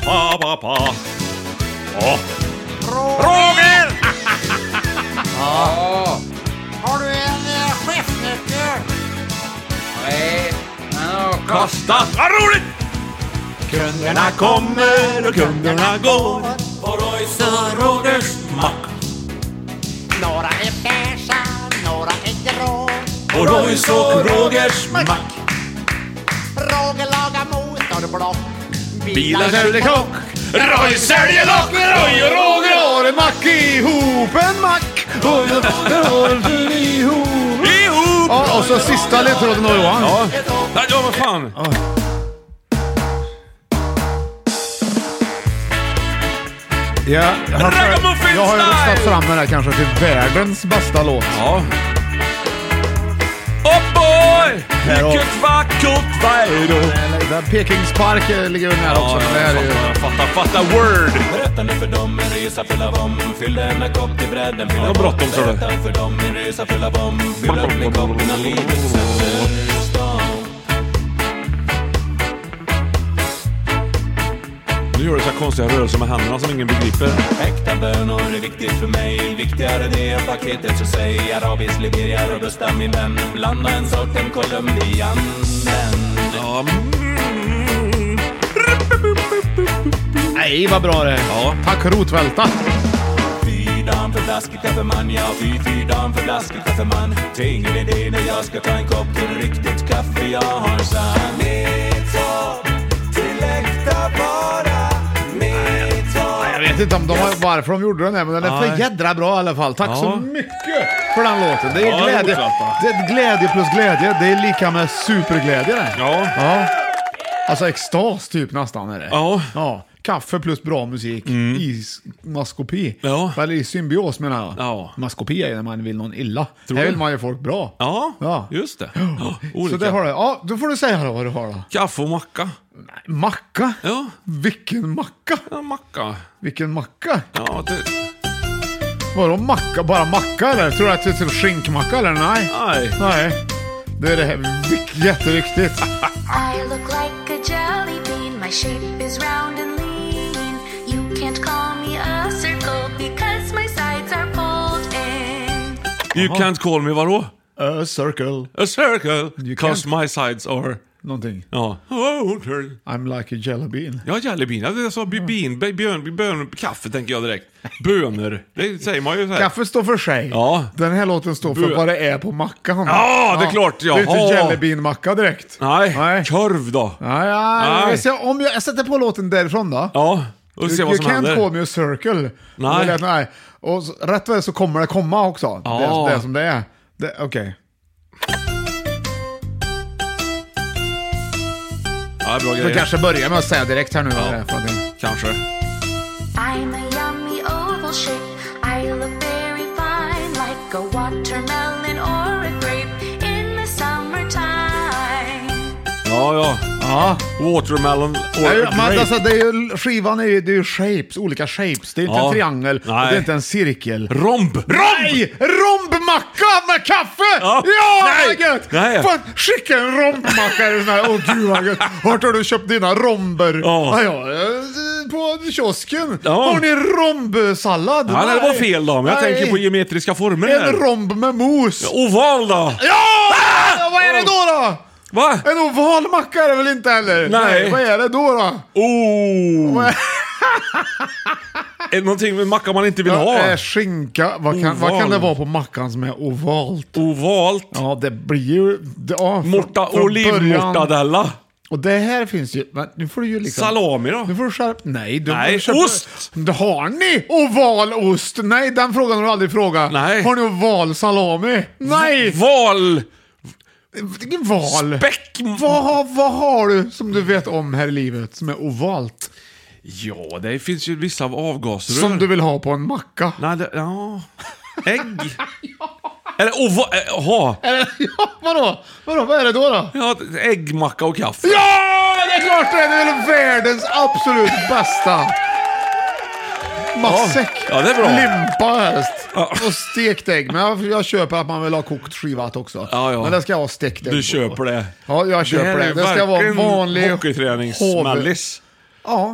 Speaker 1: Ja.
Speaker 4: Roger!
Speaker 9: Ja.
Speaker 4: Har du en eh, chefsnyckel?
Speaker 9: Nej, men har
Speaker 1: Kostat. Vad roligt!
Speaker 4: Kunderna kommer och kunderna går på Royce och Rogers mack. Några är beiga, några är grå.
Speaker 1: På Royce och Rogers mack.
Speaker 4: Roger lagar motorblock.
Speaker 1: Bilar säljer kock. Roy säljer lock. Roy och
Speaker 3: Roger har en mack ihop en mack. Och jag har en ihop. Ihop! Ja, och så sista ledtråden då Johan.
Speaker 1: Ja. Nej, ja, vad fan.
Speaker 3: Ja, jag har,
Speaker 1: Ragamuffin
Speaker 3: jag har ju
Speaker 1: style!
Speaker 3: röstat fram den här kanske till världens bästa låt.
Speaker 1: Ja. Oh boy! Vilket vackert väder.
Speaker 3: Där Pekings park eh, ligger ju nära också. men det här är ju...
Speaker 1: Fatta, fatta word.
Speaker 7: Berätta nu för dem en resa full av om. Fyll denna kopp till bredden.
Speaker 1: Det var bråttom sa du.
Speaker 7: Berätta för dem en resa full av om. Fyll upp min kopp innan livet sätter stopp.
Speaker 1: Nu gör du så här konstiga rörelser med händerna som ingen begriper.
Speaker 7: Äkta bönor är viktigt för mig. Viktigare det än paketet så säg arabisk, Liberia, robusta min vän. Blanda en sorten colombianen.
Speaker 1: Ja.
Speaker 3: Nej, vad bra det är. Tack rotvälta.
Speaker 7: Fy dan för flaskigt kaffeman, ja fy fy dan för flaskigt kaffeman. Tingen är det när jag ska ta en kopp till riktigt kaffe jag har sann. Mitt hopp till äkta vara, mitt hopp.
Speaker 3: Jag vet inte om de har, varför de gjorde den här, men den är
Speaker 1: Nej.
Speaker 3: för jädra bra i alla fall. Tack så
Speaker 1: Ja.
Speaker 3: mycket för den låten. Det är
Speaker 1: Ja,
Speaker 3: glädje.
Speaker 1: rotvälta.
Speaker 3: Det är glädje plus glädje. Det är lika med superglädje det.
Speaker 1: Ja.
Speaker 3: ja. Alltså extas typ nästan är det.
Speaker 1: Ja. Mm.
Speaker 3: ja. Kaffe plus bra musik i s- maskopi.
Speaker 1: Ja.
Speaker 3: Eller i symbios menar jag.
Speaker 1: Ja.
Speaker 3: Maskopi är ju när man vill någon illa.
Speaker 1: Tror
Speaker 3: här
Speaker 1: du?
Speaker 3: vill man ju folk bra.
Speaker 1: Ja,
Speaker 3: Ja.
Speaker 1: just det.
Speaker 3: Så
Speaker 1: olika.
Speaker 3: det har du. Ja, då får du säga då vad du har då.
Speaker 1: Kaffe och macka.
Speaker 3: Macka?
Speaker 1: Ja.
Speaker 3: Vilken macka?
Speaker 1: Ja, macka.
Speaker 3: Vilken macka?
Speaker 1: Ja, det...
Speaker 3: Vadå macka? Bara macka eller? Tror du att det är skinkmacka eller? Nej.
Speaker 1: Nej.
Speaker 3: Nej. Det är det här. vik- Jätteviktigt.
Speaker 8: I look like a jelly bean. My shape is round and lean. You can't call me a circle because my sides are pulled in.
Speaker 1: You can't call me vadå?
Speaker 3: A circle.
Speaker 1: A circle. Cause my sides are...
Speaker 3: Någonting.
Speaker 1: Ja. Oh, turn.
Speaker 3: I'm like a jelly bean.
Speaker 1: Ja, jellybean. Ja, det är så bi- bin, bi- björn, björn, kaffe tänker jag direkt. Bönor. Det säger man ju så här.
Speaker 3: Kaffe står för sig.
Speaker 1: Ja.
Speaker 3: Den här låten står för
Speaker 1: Bu-
Speaker 3: vad det är på mackan.
Speaker 1: Ja, det är klart,
Speaker 3: Det är
Speaker 1: jaha.
Speaker 3: inte jelly bean macka direkt.
Speaker 1: Nej. korv då.
Speaker 3: Nej, ja,
Speaker 1: Nej.
Speaker 3: Jag, ser, om jag, jag sätter på låten därifrån då.
Speaker 1: Ja, och se
Speaker 3: you
Speaker 1: vad som
Speaker 3: you
Speaker 1: händer.
Speaker 3: can't call me a circle.
Speaker 1: Nej.
Speaker 3: Det lät- nej. Och så, rätt vad det är så kommer det komma också.
Speaker 1: Ja.
Speaker 3: Det, är, det är som det är. Det- Okej.
Speaker 1: Ja, bra
Speaker 3: Jag
Speaker 1: grejer.
Speaker 3: kanske börjar med att säga direkt här nu vad det är för någonting.
Speaker 1: Kanske.
Speaker 8: I'm a yummy oval shape. I look very fine, like a watermelon or a grape in the summertime.
Speaker 1: Ja, ja.
Speaker 3: Ja.
Speaker 1: Watermelon or
Speaker 3: Nej,
Speaker 1: grape.
Speaker 3: men alltså, det är ju, skivan är ju, det är ju shapes, olika shapes. Det är inte
Speaker 1: Ja.
Speaker 3: en triangel, och
Speaker 1: Nej.
Speaker 3: det är inte en cirkel.
Speaker 1: Romb!
Speaker 3: Nej! Rombmacka med kaffe!
Speaker 1: Ja.
Speaker 3: Ja,
Speaker 1: Nej.
Speaker 3: vad gött!
Speaker 1: Nej.
Speaker 3: Fan, skicka en rombmacka eller sån här. Åh gud vad gött. Vart har du köpt dina romber?
Speaker 1: Ja.
Speaker 3: Ja, ja, eh, på kiosken.
Speaker 1: Ja.
Speaker 3: Har ni rombsallad?
Speaker 1: Ja, nej, det var fel då, men jag
Speaker 3: Nej.
Speaker 1: tänker på geometriska former
Speaker 3: En
Speaker 1: där.
Speaker 3: romb med mos.
Speaker 1: Oval då!
Speaker 3: Ja!
Speaker 1: Ah!
Speaker 3: Vad är det då då?
Speaker 1: Va?
Speaker 3: En oval macka är det väl inte heller?
Speaker 1: Nej.
Speaker 3: Vad är det då då?
Speaker 1: Oh! Är det någonting med macka man inte vill
Speaker 3: Ja,
Speaker 1: ha?
Speaker 3: eh, skinka. Vad kan, vad
Speaker 1: Oval.
Speaker 3: kan det vara på mackan som är ovalt?
Speaker 1: Ovalt.
Speaker 3: Ja, det blir ju... Det, ja, från-
Speaker 1: Morta,
Speaker 3: från början.
Speaker 1: olivmortadella.
Speaker 3: Och det här finns ju... Men nu får du ju liksom...
Speaker 1: Salami då?
Speaker 3: Nu får du skärpa... Nej, du
Speaker 1: Nej,
Speaker 3: du köper-
Speaker 1: ost!
Speaker 3: Har ni oval ost? Nej, den frågan har du aldrig frågat.
Speaker 1: Nej.
Speaker 3: Har ni oval salami? Nej!
Speaker 1: Val!
Speaker 3: Vilken val?
Speaker 1: Späck!
Speaker 3: Vad, har- vad har du som du vet om här i livet som är ovalt?
Speaker 1: Ja, det finns ju vissa avgaser.
Speaker 3: Som du vill ha på en macka?
Speaker 1: Nej, det, ja. Ägg. Eller, och vad, eh, jaha.
Speaker 3: Ja, vadå? vadå? Vad är det då? då?
Speaker 1: Ja, äggmacka och kaffe.
Speaker 3: Ja, det är klart det! är! Det är väl världens absolut bästa. Matsäck.
Speaker 1: Ja, det är bra.
Speaker 3: Limpa helst. Och stekt ägg. Men jag, jag köper att man vill ha kokt skivat också.
Speaker 1: Ja, ja.
Speaker 3: Men det ska jag ha stekt ägg på.
Speaker 1: Du köper det.
Speaker 3: Ja, jag köper det.
Speaker 1: här är
Speaker 3: Det ska vara
Speaker 1: verkligen
Speaker 3: vanlig
Speaker 1: hockeyträningssmällis.
Speaker 3: Ja,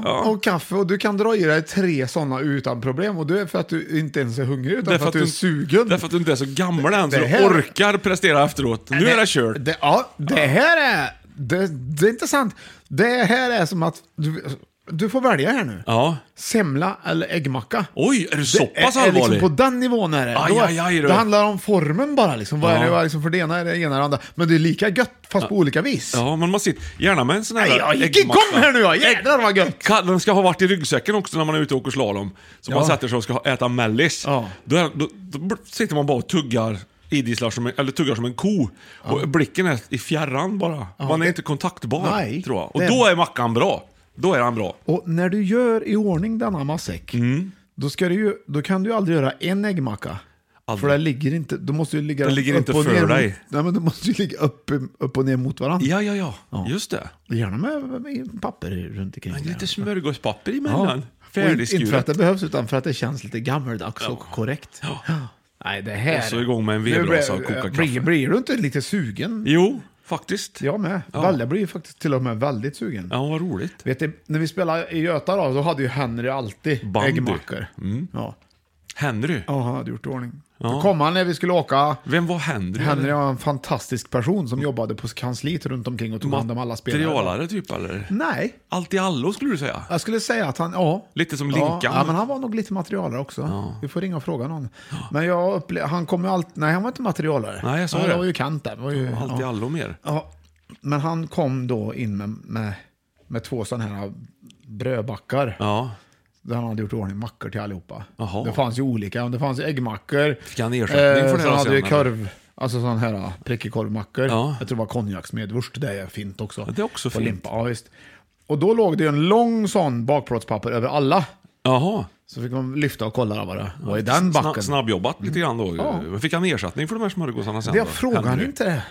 Speaker 1: Ja.
Speaker 3: och kaffe. Och du kan dra i dig tre sådana utan problem. Och det är för att du inte ens är hungrig, utan för att du är sugen.
Speaker 1: Därför att du inte är så gammal än så
Speaker 3: Det
Speaker 1: du
Speaker 3: här-
Speaker 1: orkar prestera efteråt. Nu är det kört.
Speaker 3: Det, ja, det här är... Det, det är inte sant. Det här är som att... Du, du får välja här nu.
Speaker 1: Ja.
Speaker 3: Semla eller äggmacka.
Speaker 1: Oj, är du så
Speaker 3: Det är-
Speaker 1: pass
Speaker 3: är liksom
Speaker 1: allvarlig?
Speaker 3: På den nivån är det.
Speaker 1: Aj,
Speaker 3: Då-
Speaker 1: aj, aj, du.
Speaker 3: det handlar om formen bara. Liksom. Vad är
Speaker 1: Ja.
Speaker 3: det vad är liksom för det ena är det ena och det andra. Men det är lika gött fast på olika vis.
Speaker 1: Ja, men man sitter gärna med en sån här
Speaker 3: Nej, jag gick
Speaker 1: äggmacka.
Speaker 3: igång här nu, ja. Jävlar vad gött!
Speaker 1: Ka- Den ska ha varit i ryggsäcken också när man är ute och åker slalom. Så
Speaker 3: Ja.
Speaker 1: man sätter sig och ska ha- äta mellis. Då, är- då, då br- sitter man bara och tuggar idisslar som, en- eller tuggar som en ko. Och blicken är i fjärran bara. Man är inte kontaktbar,
Speaker 3: Nej.
Speaker 1: tror jag. Och
Speaker 3: Det är-
Speaker 1: då är mackan bra. Då är han bra.
Speaker 3: Och när du gör i ordning denna matsäck,
Speaker 1: Mm.
Speaker 3: då, ska du ju, då kan du ju aldrig göra en äggmacka. För det ligger inte, då måste ju ligga
Speaker 1: Den ligger
Speaker 3: upp
Speaker 1: inte
Speaker 3: och
Speaker 1: för
Speaker 3: ner mot-
Speaker 1: dig.
Speaker 3: Nej, men du måste ju ligga upp, upp och ner mot varandra.
Speaker 1: Ja, ja, ja, Just det.
Speaker 3: Gärna med, med papper runt omkring. där.
Speaker 1: Lite smörgåspapper emellan.
Speaker 3: Och in- Inte för att
Speaker 1: Färdigskuret.
Speaker 3: det behövs, utan för att det känns lite gammaldags och korrekt. Nej, det här...
Speaker 1: Och så igång med en
Speaker 3: Nu blir-
Speaker 1: vedbrasa och koka
Speaker 3: blir-
Speaker 1: kaffe.
Speaker 3: Blir du inte lite sugen?
Speaker 1: Jo, faktiskt.
Speaker 3: Jag med.
Speaker 1: Ja.
Speaker 3: Valle blir ju faktiskt till och med väldigt sugen.
Speaker 1: Ja, vad roligt.
Speaker 3: Vet du, när vi spelade i Göta då, då hade ju Henry alltid
Speaker 1: Bandy.
Speaker 3: äggmackor.
Speaker 1: Mm.
Speaker 3: Ja.
Speaker 1: Henry?
Speaker 3: Ja, han hade gjort i ordning.
Speaker 1: Ja.
Speaker 3: Då kom han när vi skulle åka.
Speaker 1: Vem var Henry?
Speaker 3: Henry var en fantastisk person som jobbade på kansliet runt omkring och tog hand om alla spelare.
Speaker 1: Materialare typ eller?
Speaker 3: Nej,
Speaker 1: Allt i allo skulle du säga?
Speaker 3: jag skulle säga att han, ja.
Speaker 1: Lite som
Speaker 3: Ja,
Speaker 1: Linkan?
Speaker 3: ja, men han var nog lite materialare också. Vi får ringa och fråga någon. Men jag upplevde, han kom ju alltid, nej han var inte materialare.
Speaker 1: Nej, jag sa
Speaker 3: han
Speaker 1: det.
Speaker 3: var ju kant där. Var ju,
Speaker 1: Allt i
Speaker 3: ja.
Speaker 1: allo mer?
Speaker 3: Ja, men han kom då in med, med, med två sådana här brödbackar.
Speaker 1: Ja.
Speaker 3: Där han hade gjort i ordning mackor till allihopa.
Speaker 1: Jaha.
Speaker 3: Det fanns ju olika. Det fanns ju äggmackor. Eh,
Speaker 1: Fick han ersättning för det
Speaker 3: sen
Speaker 1: då
Speaker 3: hade ju
Speaker 1: sen,
Speaker 3: korv, alltså sådana här prickig korvmackor.
Speaker 1: Ja.
Speaker 3: Jag tror det var konjaksmedvurst. Det är fint också.
Speaker 1: det är också
Speaker 3: På
Speaker 1: fint.
Speaker 3: Limpa, ja, visst. Och då låg det ju en lång sån bakplåtspapper över alla.
Speaker 1: Jaha.
Speaker 3: Så fick man lyfta och kolla vad det var i den
Speaker 1: Sna-
Speaker 3: backen.
Speaker 1: Snabbjobbat lite grann då.
Speaker 3: Ja.
Speaker 1: Fick han ersättning för de här smörgåsarna sen
Speaker 3: Det jag
Speaker 1: då?
Speaker 3: frågade
Speaker 1: Henry?
Speaker 3: inte det.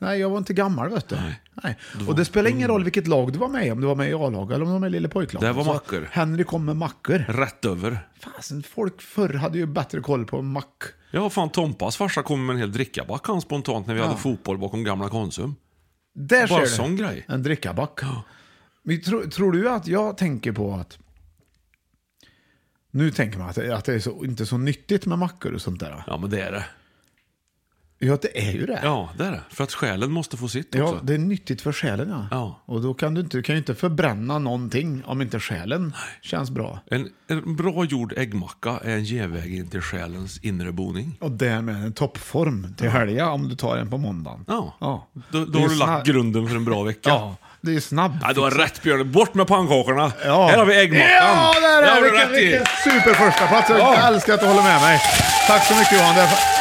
Speaker 1: Nej.
Speaker 3: jag var inte gammal vet du. Nej. Och det spelar ingen roll vilket lag du var med i, om du var med i A-laget eller om du var med i lille pojklaget.
Speaker 1: Det var
Speaker 3: Så
Speaker 1: mackor.
Speaker 3: Henry kom med mackor.
Speaker 1: Rätt över.
Speaker 3: Fasen, folk förr hade ju bättre koll på mack.
Speaker 1: Ja, fan Tompas farsa kom med en hel drickaback han spontant när vi
Speaker 3: Ja.
Speaker 1: hade fotboll bakom gamla Konsum.
Speaker 3: Där
Speaker 1: Bara
Speaker 3: ser du.
Speaker 1: sån grej.
Speaker 3: En drickaback. Men tro, tror du att jag tänker på att... Nu tänker man att det, att det är så, inte så nyttigt med mackor och sånt där.
Speaker 1: Ja, men det är det.
Speaker 3: Ja, det är ju det.
Speaker 1: Ja, det är det. För att själen måste få sitt
Speaker 3: Ja,
Speaker 1: också.
Speaker 3: det är nyttigt för själen ja.
Speaker 1: Ja.
Speaker 3: Och då kan du, inte, du kan ju inte förbränna någonting om inte själen känns bra.
Speaker 1: En, en bra gjord äggmacka är en genväg in till själens inre boning.
Speaker 3: Och därmed en toppform till helgen om du tar en på måndagen.
Speaker 1: Ja.
Speaker 3: Ja.
Speaker 1: Då,
Speaker 3: Det
Speaker 1: då
Speaker 3: är
Speaker 1: har du
Speaker 3: snabb-
Speaker 1: lagt grunden för en bra vecka.
Speaker 3: Ja, det är ju snabb.
Speaker 1: Ja, du har rätt Björn. Bort med pannkakorna. Här har vi äggmackan.
Speaker 3: Ja, där
Speaker 1: har
Speaker 3: är
Speaker 1: du
Speaker 3: det! Vilken,
Speaker 1: rätt i.
Speaker 3: vilken super första plats. Jag
Speaker 1: Ja.
Speaker 3: älskar att du håller med mig. Tack så mycket Johan. Det är fa-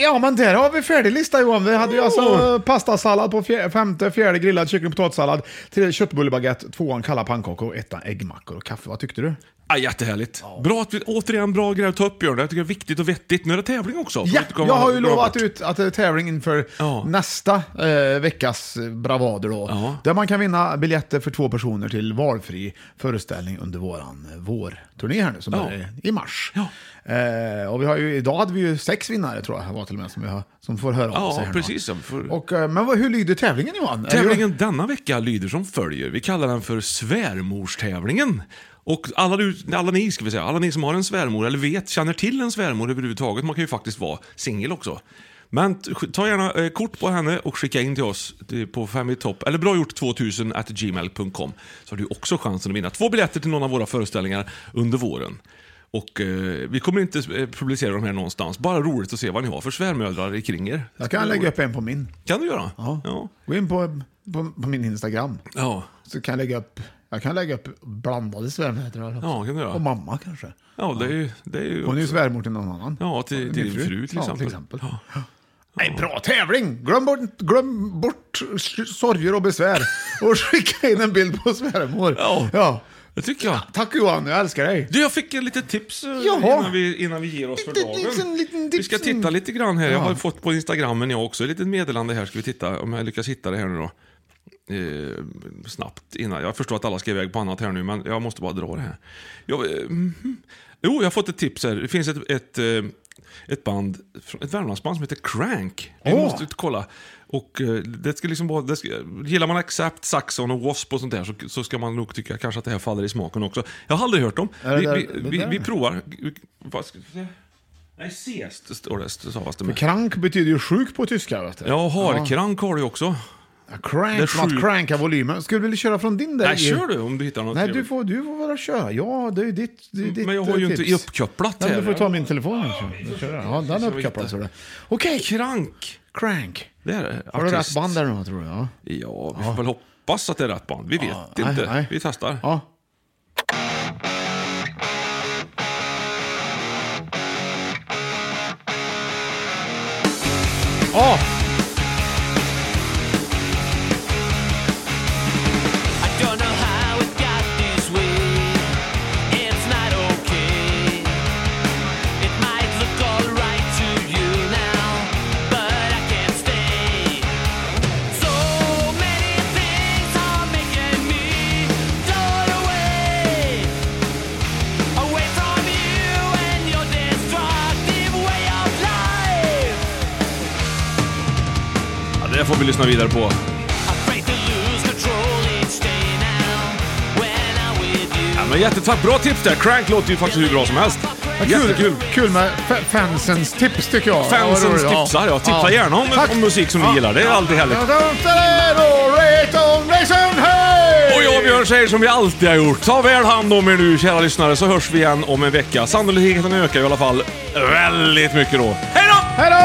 Speaker 3: Ja, men där har vi färdig lista Johan. Vi hade ju alltså eh, pastasallad på fjär, femte, fjärde grillad kyckling och potatissallad, tredje köttbullebaguette, tvåan kalla pannkakor och ettan äggmackor och kaffe. Vad tyckte du?
Speaker 1: Ja, jättehärligt. Bra att vi återigen bra grej att ta upp Björn. Det tycker jag är viktigt och vettigt. Nu är det tävling också.
Speaker 3: Ja,
Speaker 1: Det kommer
Speaker 3: jag har ju
Speaker 1: bra
Speaker 3: lovat
Speaker 1: bort.
Speaker 3: ut att det är tävling inför nästa eh, veckas bravader då. Där man kan vinna biljetter för två personer till valfri föreställning under våran eh, vårturné här nu som
Speaker 1: Ja.
Speaker 3: är i mars. Eh, och vi har ju, idag hade vi ju sex vinnare tror jag var till och med som, vi har, som får höra av sig. här
Speaker 1: Ja,
Speaker 3: nu.
Speaker 1: precis. ja, För...
Speaker 3: Och, eh, men vad, hur lyder tävlingen Johan? Är det-
Speaker 1: Tävlingen denna vecka lyder som följer. Vi kallar den för svärmorstävlingen. Och alla, du, alla ni ska vi säga, alla ni som har en svärmor eller vet, känner till en svärmor överhuvudtaget, man kan ju faktiskt vara singel också. Men t- ta gärna eh, kort på henne och skicka in till oss eh, på femitopp, eller bra gjort 2000 at gmail.com. Så har du också chansen att vinna två biljetter till någon av våra föreställningar under våren. Och eh, vi kommer inte eh, publicera de här någonstans, bara roligt att se vad ni har för svärmödrar i kring er.
Speaker 3: Jag kan lägga upp en på min.
Speaker 1: Kan du göra?
Speaker 3: Ja.
Speaker 1: Ja.
Speaker 3: Gå in på, på, på min Instagram.
Speaker 1: ja.
Speaker 3: Så kan jag lägga upp, jag kan lägga upp blandade svärmödrar också.
Speaker 1: Ja, kan du göra.
Speaker 3: Och mamma kanske.
Speaker 1: Ja, det är ju... Det är ju
Speaker 3: Hon är ju
Speaker 1: också-
Speaker 3: svärmor till någon annan.
Speaker 1: Ja, till-
Speaker 3: Min
Speaker 1: till din fru, till
Speaker 3: Ja,
Speaker 1: exempel.
Speaker 3: till exempel. Nej, bra tävling! Glöm bort, glöm bort sorger och besvär och skicka in en bild på svärmor.
Speaker 1: Ja. Det tycker jag.
Speaker 3: Tack Johan, jag älskar dig.
Speaker 1: Du, jag fick ett litet tips eh,
Speaker 3: Jaha.
Speaker 1: innan vi, innan vi ger oss för dagen.
Speaker 3: liksom liten
Speaker 1: vi ska
Speaker 3: tips.
Speaker 1: titta lite grann här. Jag har
Speaker 3: Ja.
Speaker 1: fått på Instagrammen jag också ett litet meddelande här. Ska vi titta om jag lyckas hitta det här nu då. Eh, snabbt innan. Jag förstår att alla ska iväg på annat här nu, men jag måste bara dra det här. Jag, eh, mhm. Jo, jag har fått ett tips här. Det finns ett, ett, eh, ett band, från- ett Värmlandsband som heter Crank. Vi
Speaker 10: Åh.
Speaker 1: måste ut och kolla. Och eh, det ska liksom vara, det ska, gillar man Accept, Saxon och Wasp och sånt där så, så ska man nog tycka kanske att det här faller i smaken också. Jag har aldrig hört dem.
Speaker 10: Är det
Speaker 1: Vi,
Speaker 10: där-
Speaker 1: vi,
Speaker 10: det
Speaker 1: vi,
Speaker 10: där?
Speaker 1: vi provar. Vi- Vad ska vi se? Nej, sest står det, stavas det
Speaker 3: För
Speaker 1: med.
Speaker 3: krank betyder ju sjuk på tyska. Vet du.
Speaker 1: Ja, harkrank har du ju också. Det är
Speaker 3: Crank,
Speaker 1: sjuk.
Speaker 3: att cranka volymen. Skulle du vilja köra från din där?
Speaker 1: Nej, kör du om du hittar något
Speaker 3: Nej, du
Speaker 1: trevligt.
Speaker 3: får, du får bara köra. Ja, det är ju ditt, det är ditt
Speaker 1: Mm, Men jag har ju
Speaker 3: eh,
Speaker 1: inte
Speaker 3: tips.
Speaker 1: uppkopplat
Speaker 3: Nej, men
Speaker 1: här.
Speaker 3: Du får ju ta min telefon. Ja, ja den är uppkopplad. så det. Okej.
Speaker 1: Crank.
Speaker 3: Crank.
Speaker 1: Det är det.
Speaker 3: Har du
Speaker 1: Artist.
Speaker 3: rätt band där nu, tror jag? Ja.
Speaker 1: Ja, vi får väl hoppas att det är rätt band. Vi vet
Speaker 3: nej,
Speaker 1: inte.
Speaker 3: nej.
Speaker 1: Vi testar.
Speaker 3: Ja.
Speaker 4: Oh. I don't know how it got this way. It's not okay. It might look alright to you now, but I can't stay. So many things are making me turn away. Away from you and your destructive way of life.
Speaker 1: Ja, det får vi lyssna vidare på. Ja, men jättetack. Bra tips där. Crank låter ju faktiskt hur bra som helst. Jättekul.
Speaker 3: Kul med fa- fansens tips tycker jag. Ja, vad
Speaker 1: Fansens
Speaker 3: roligt, ja.
Speaker 1: tipsar, ja. Tipsa gärna om,
Speaker 3: Tack.
Speaker 1: om musik som ni gillar. Det är alltid härligt. Och jag och Björn säger som vi alltid har gjort. Ta väl hand om er nu kära lyssnare så hörs vi igen om en vecka. Sannolikheten ökar i alla fall väldigt mycket då. Hej då!
Speaker 3: Hej då!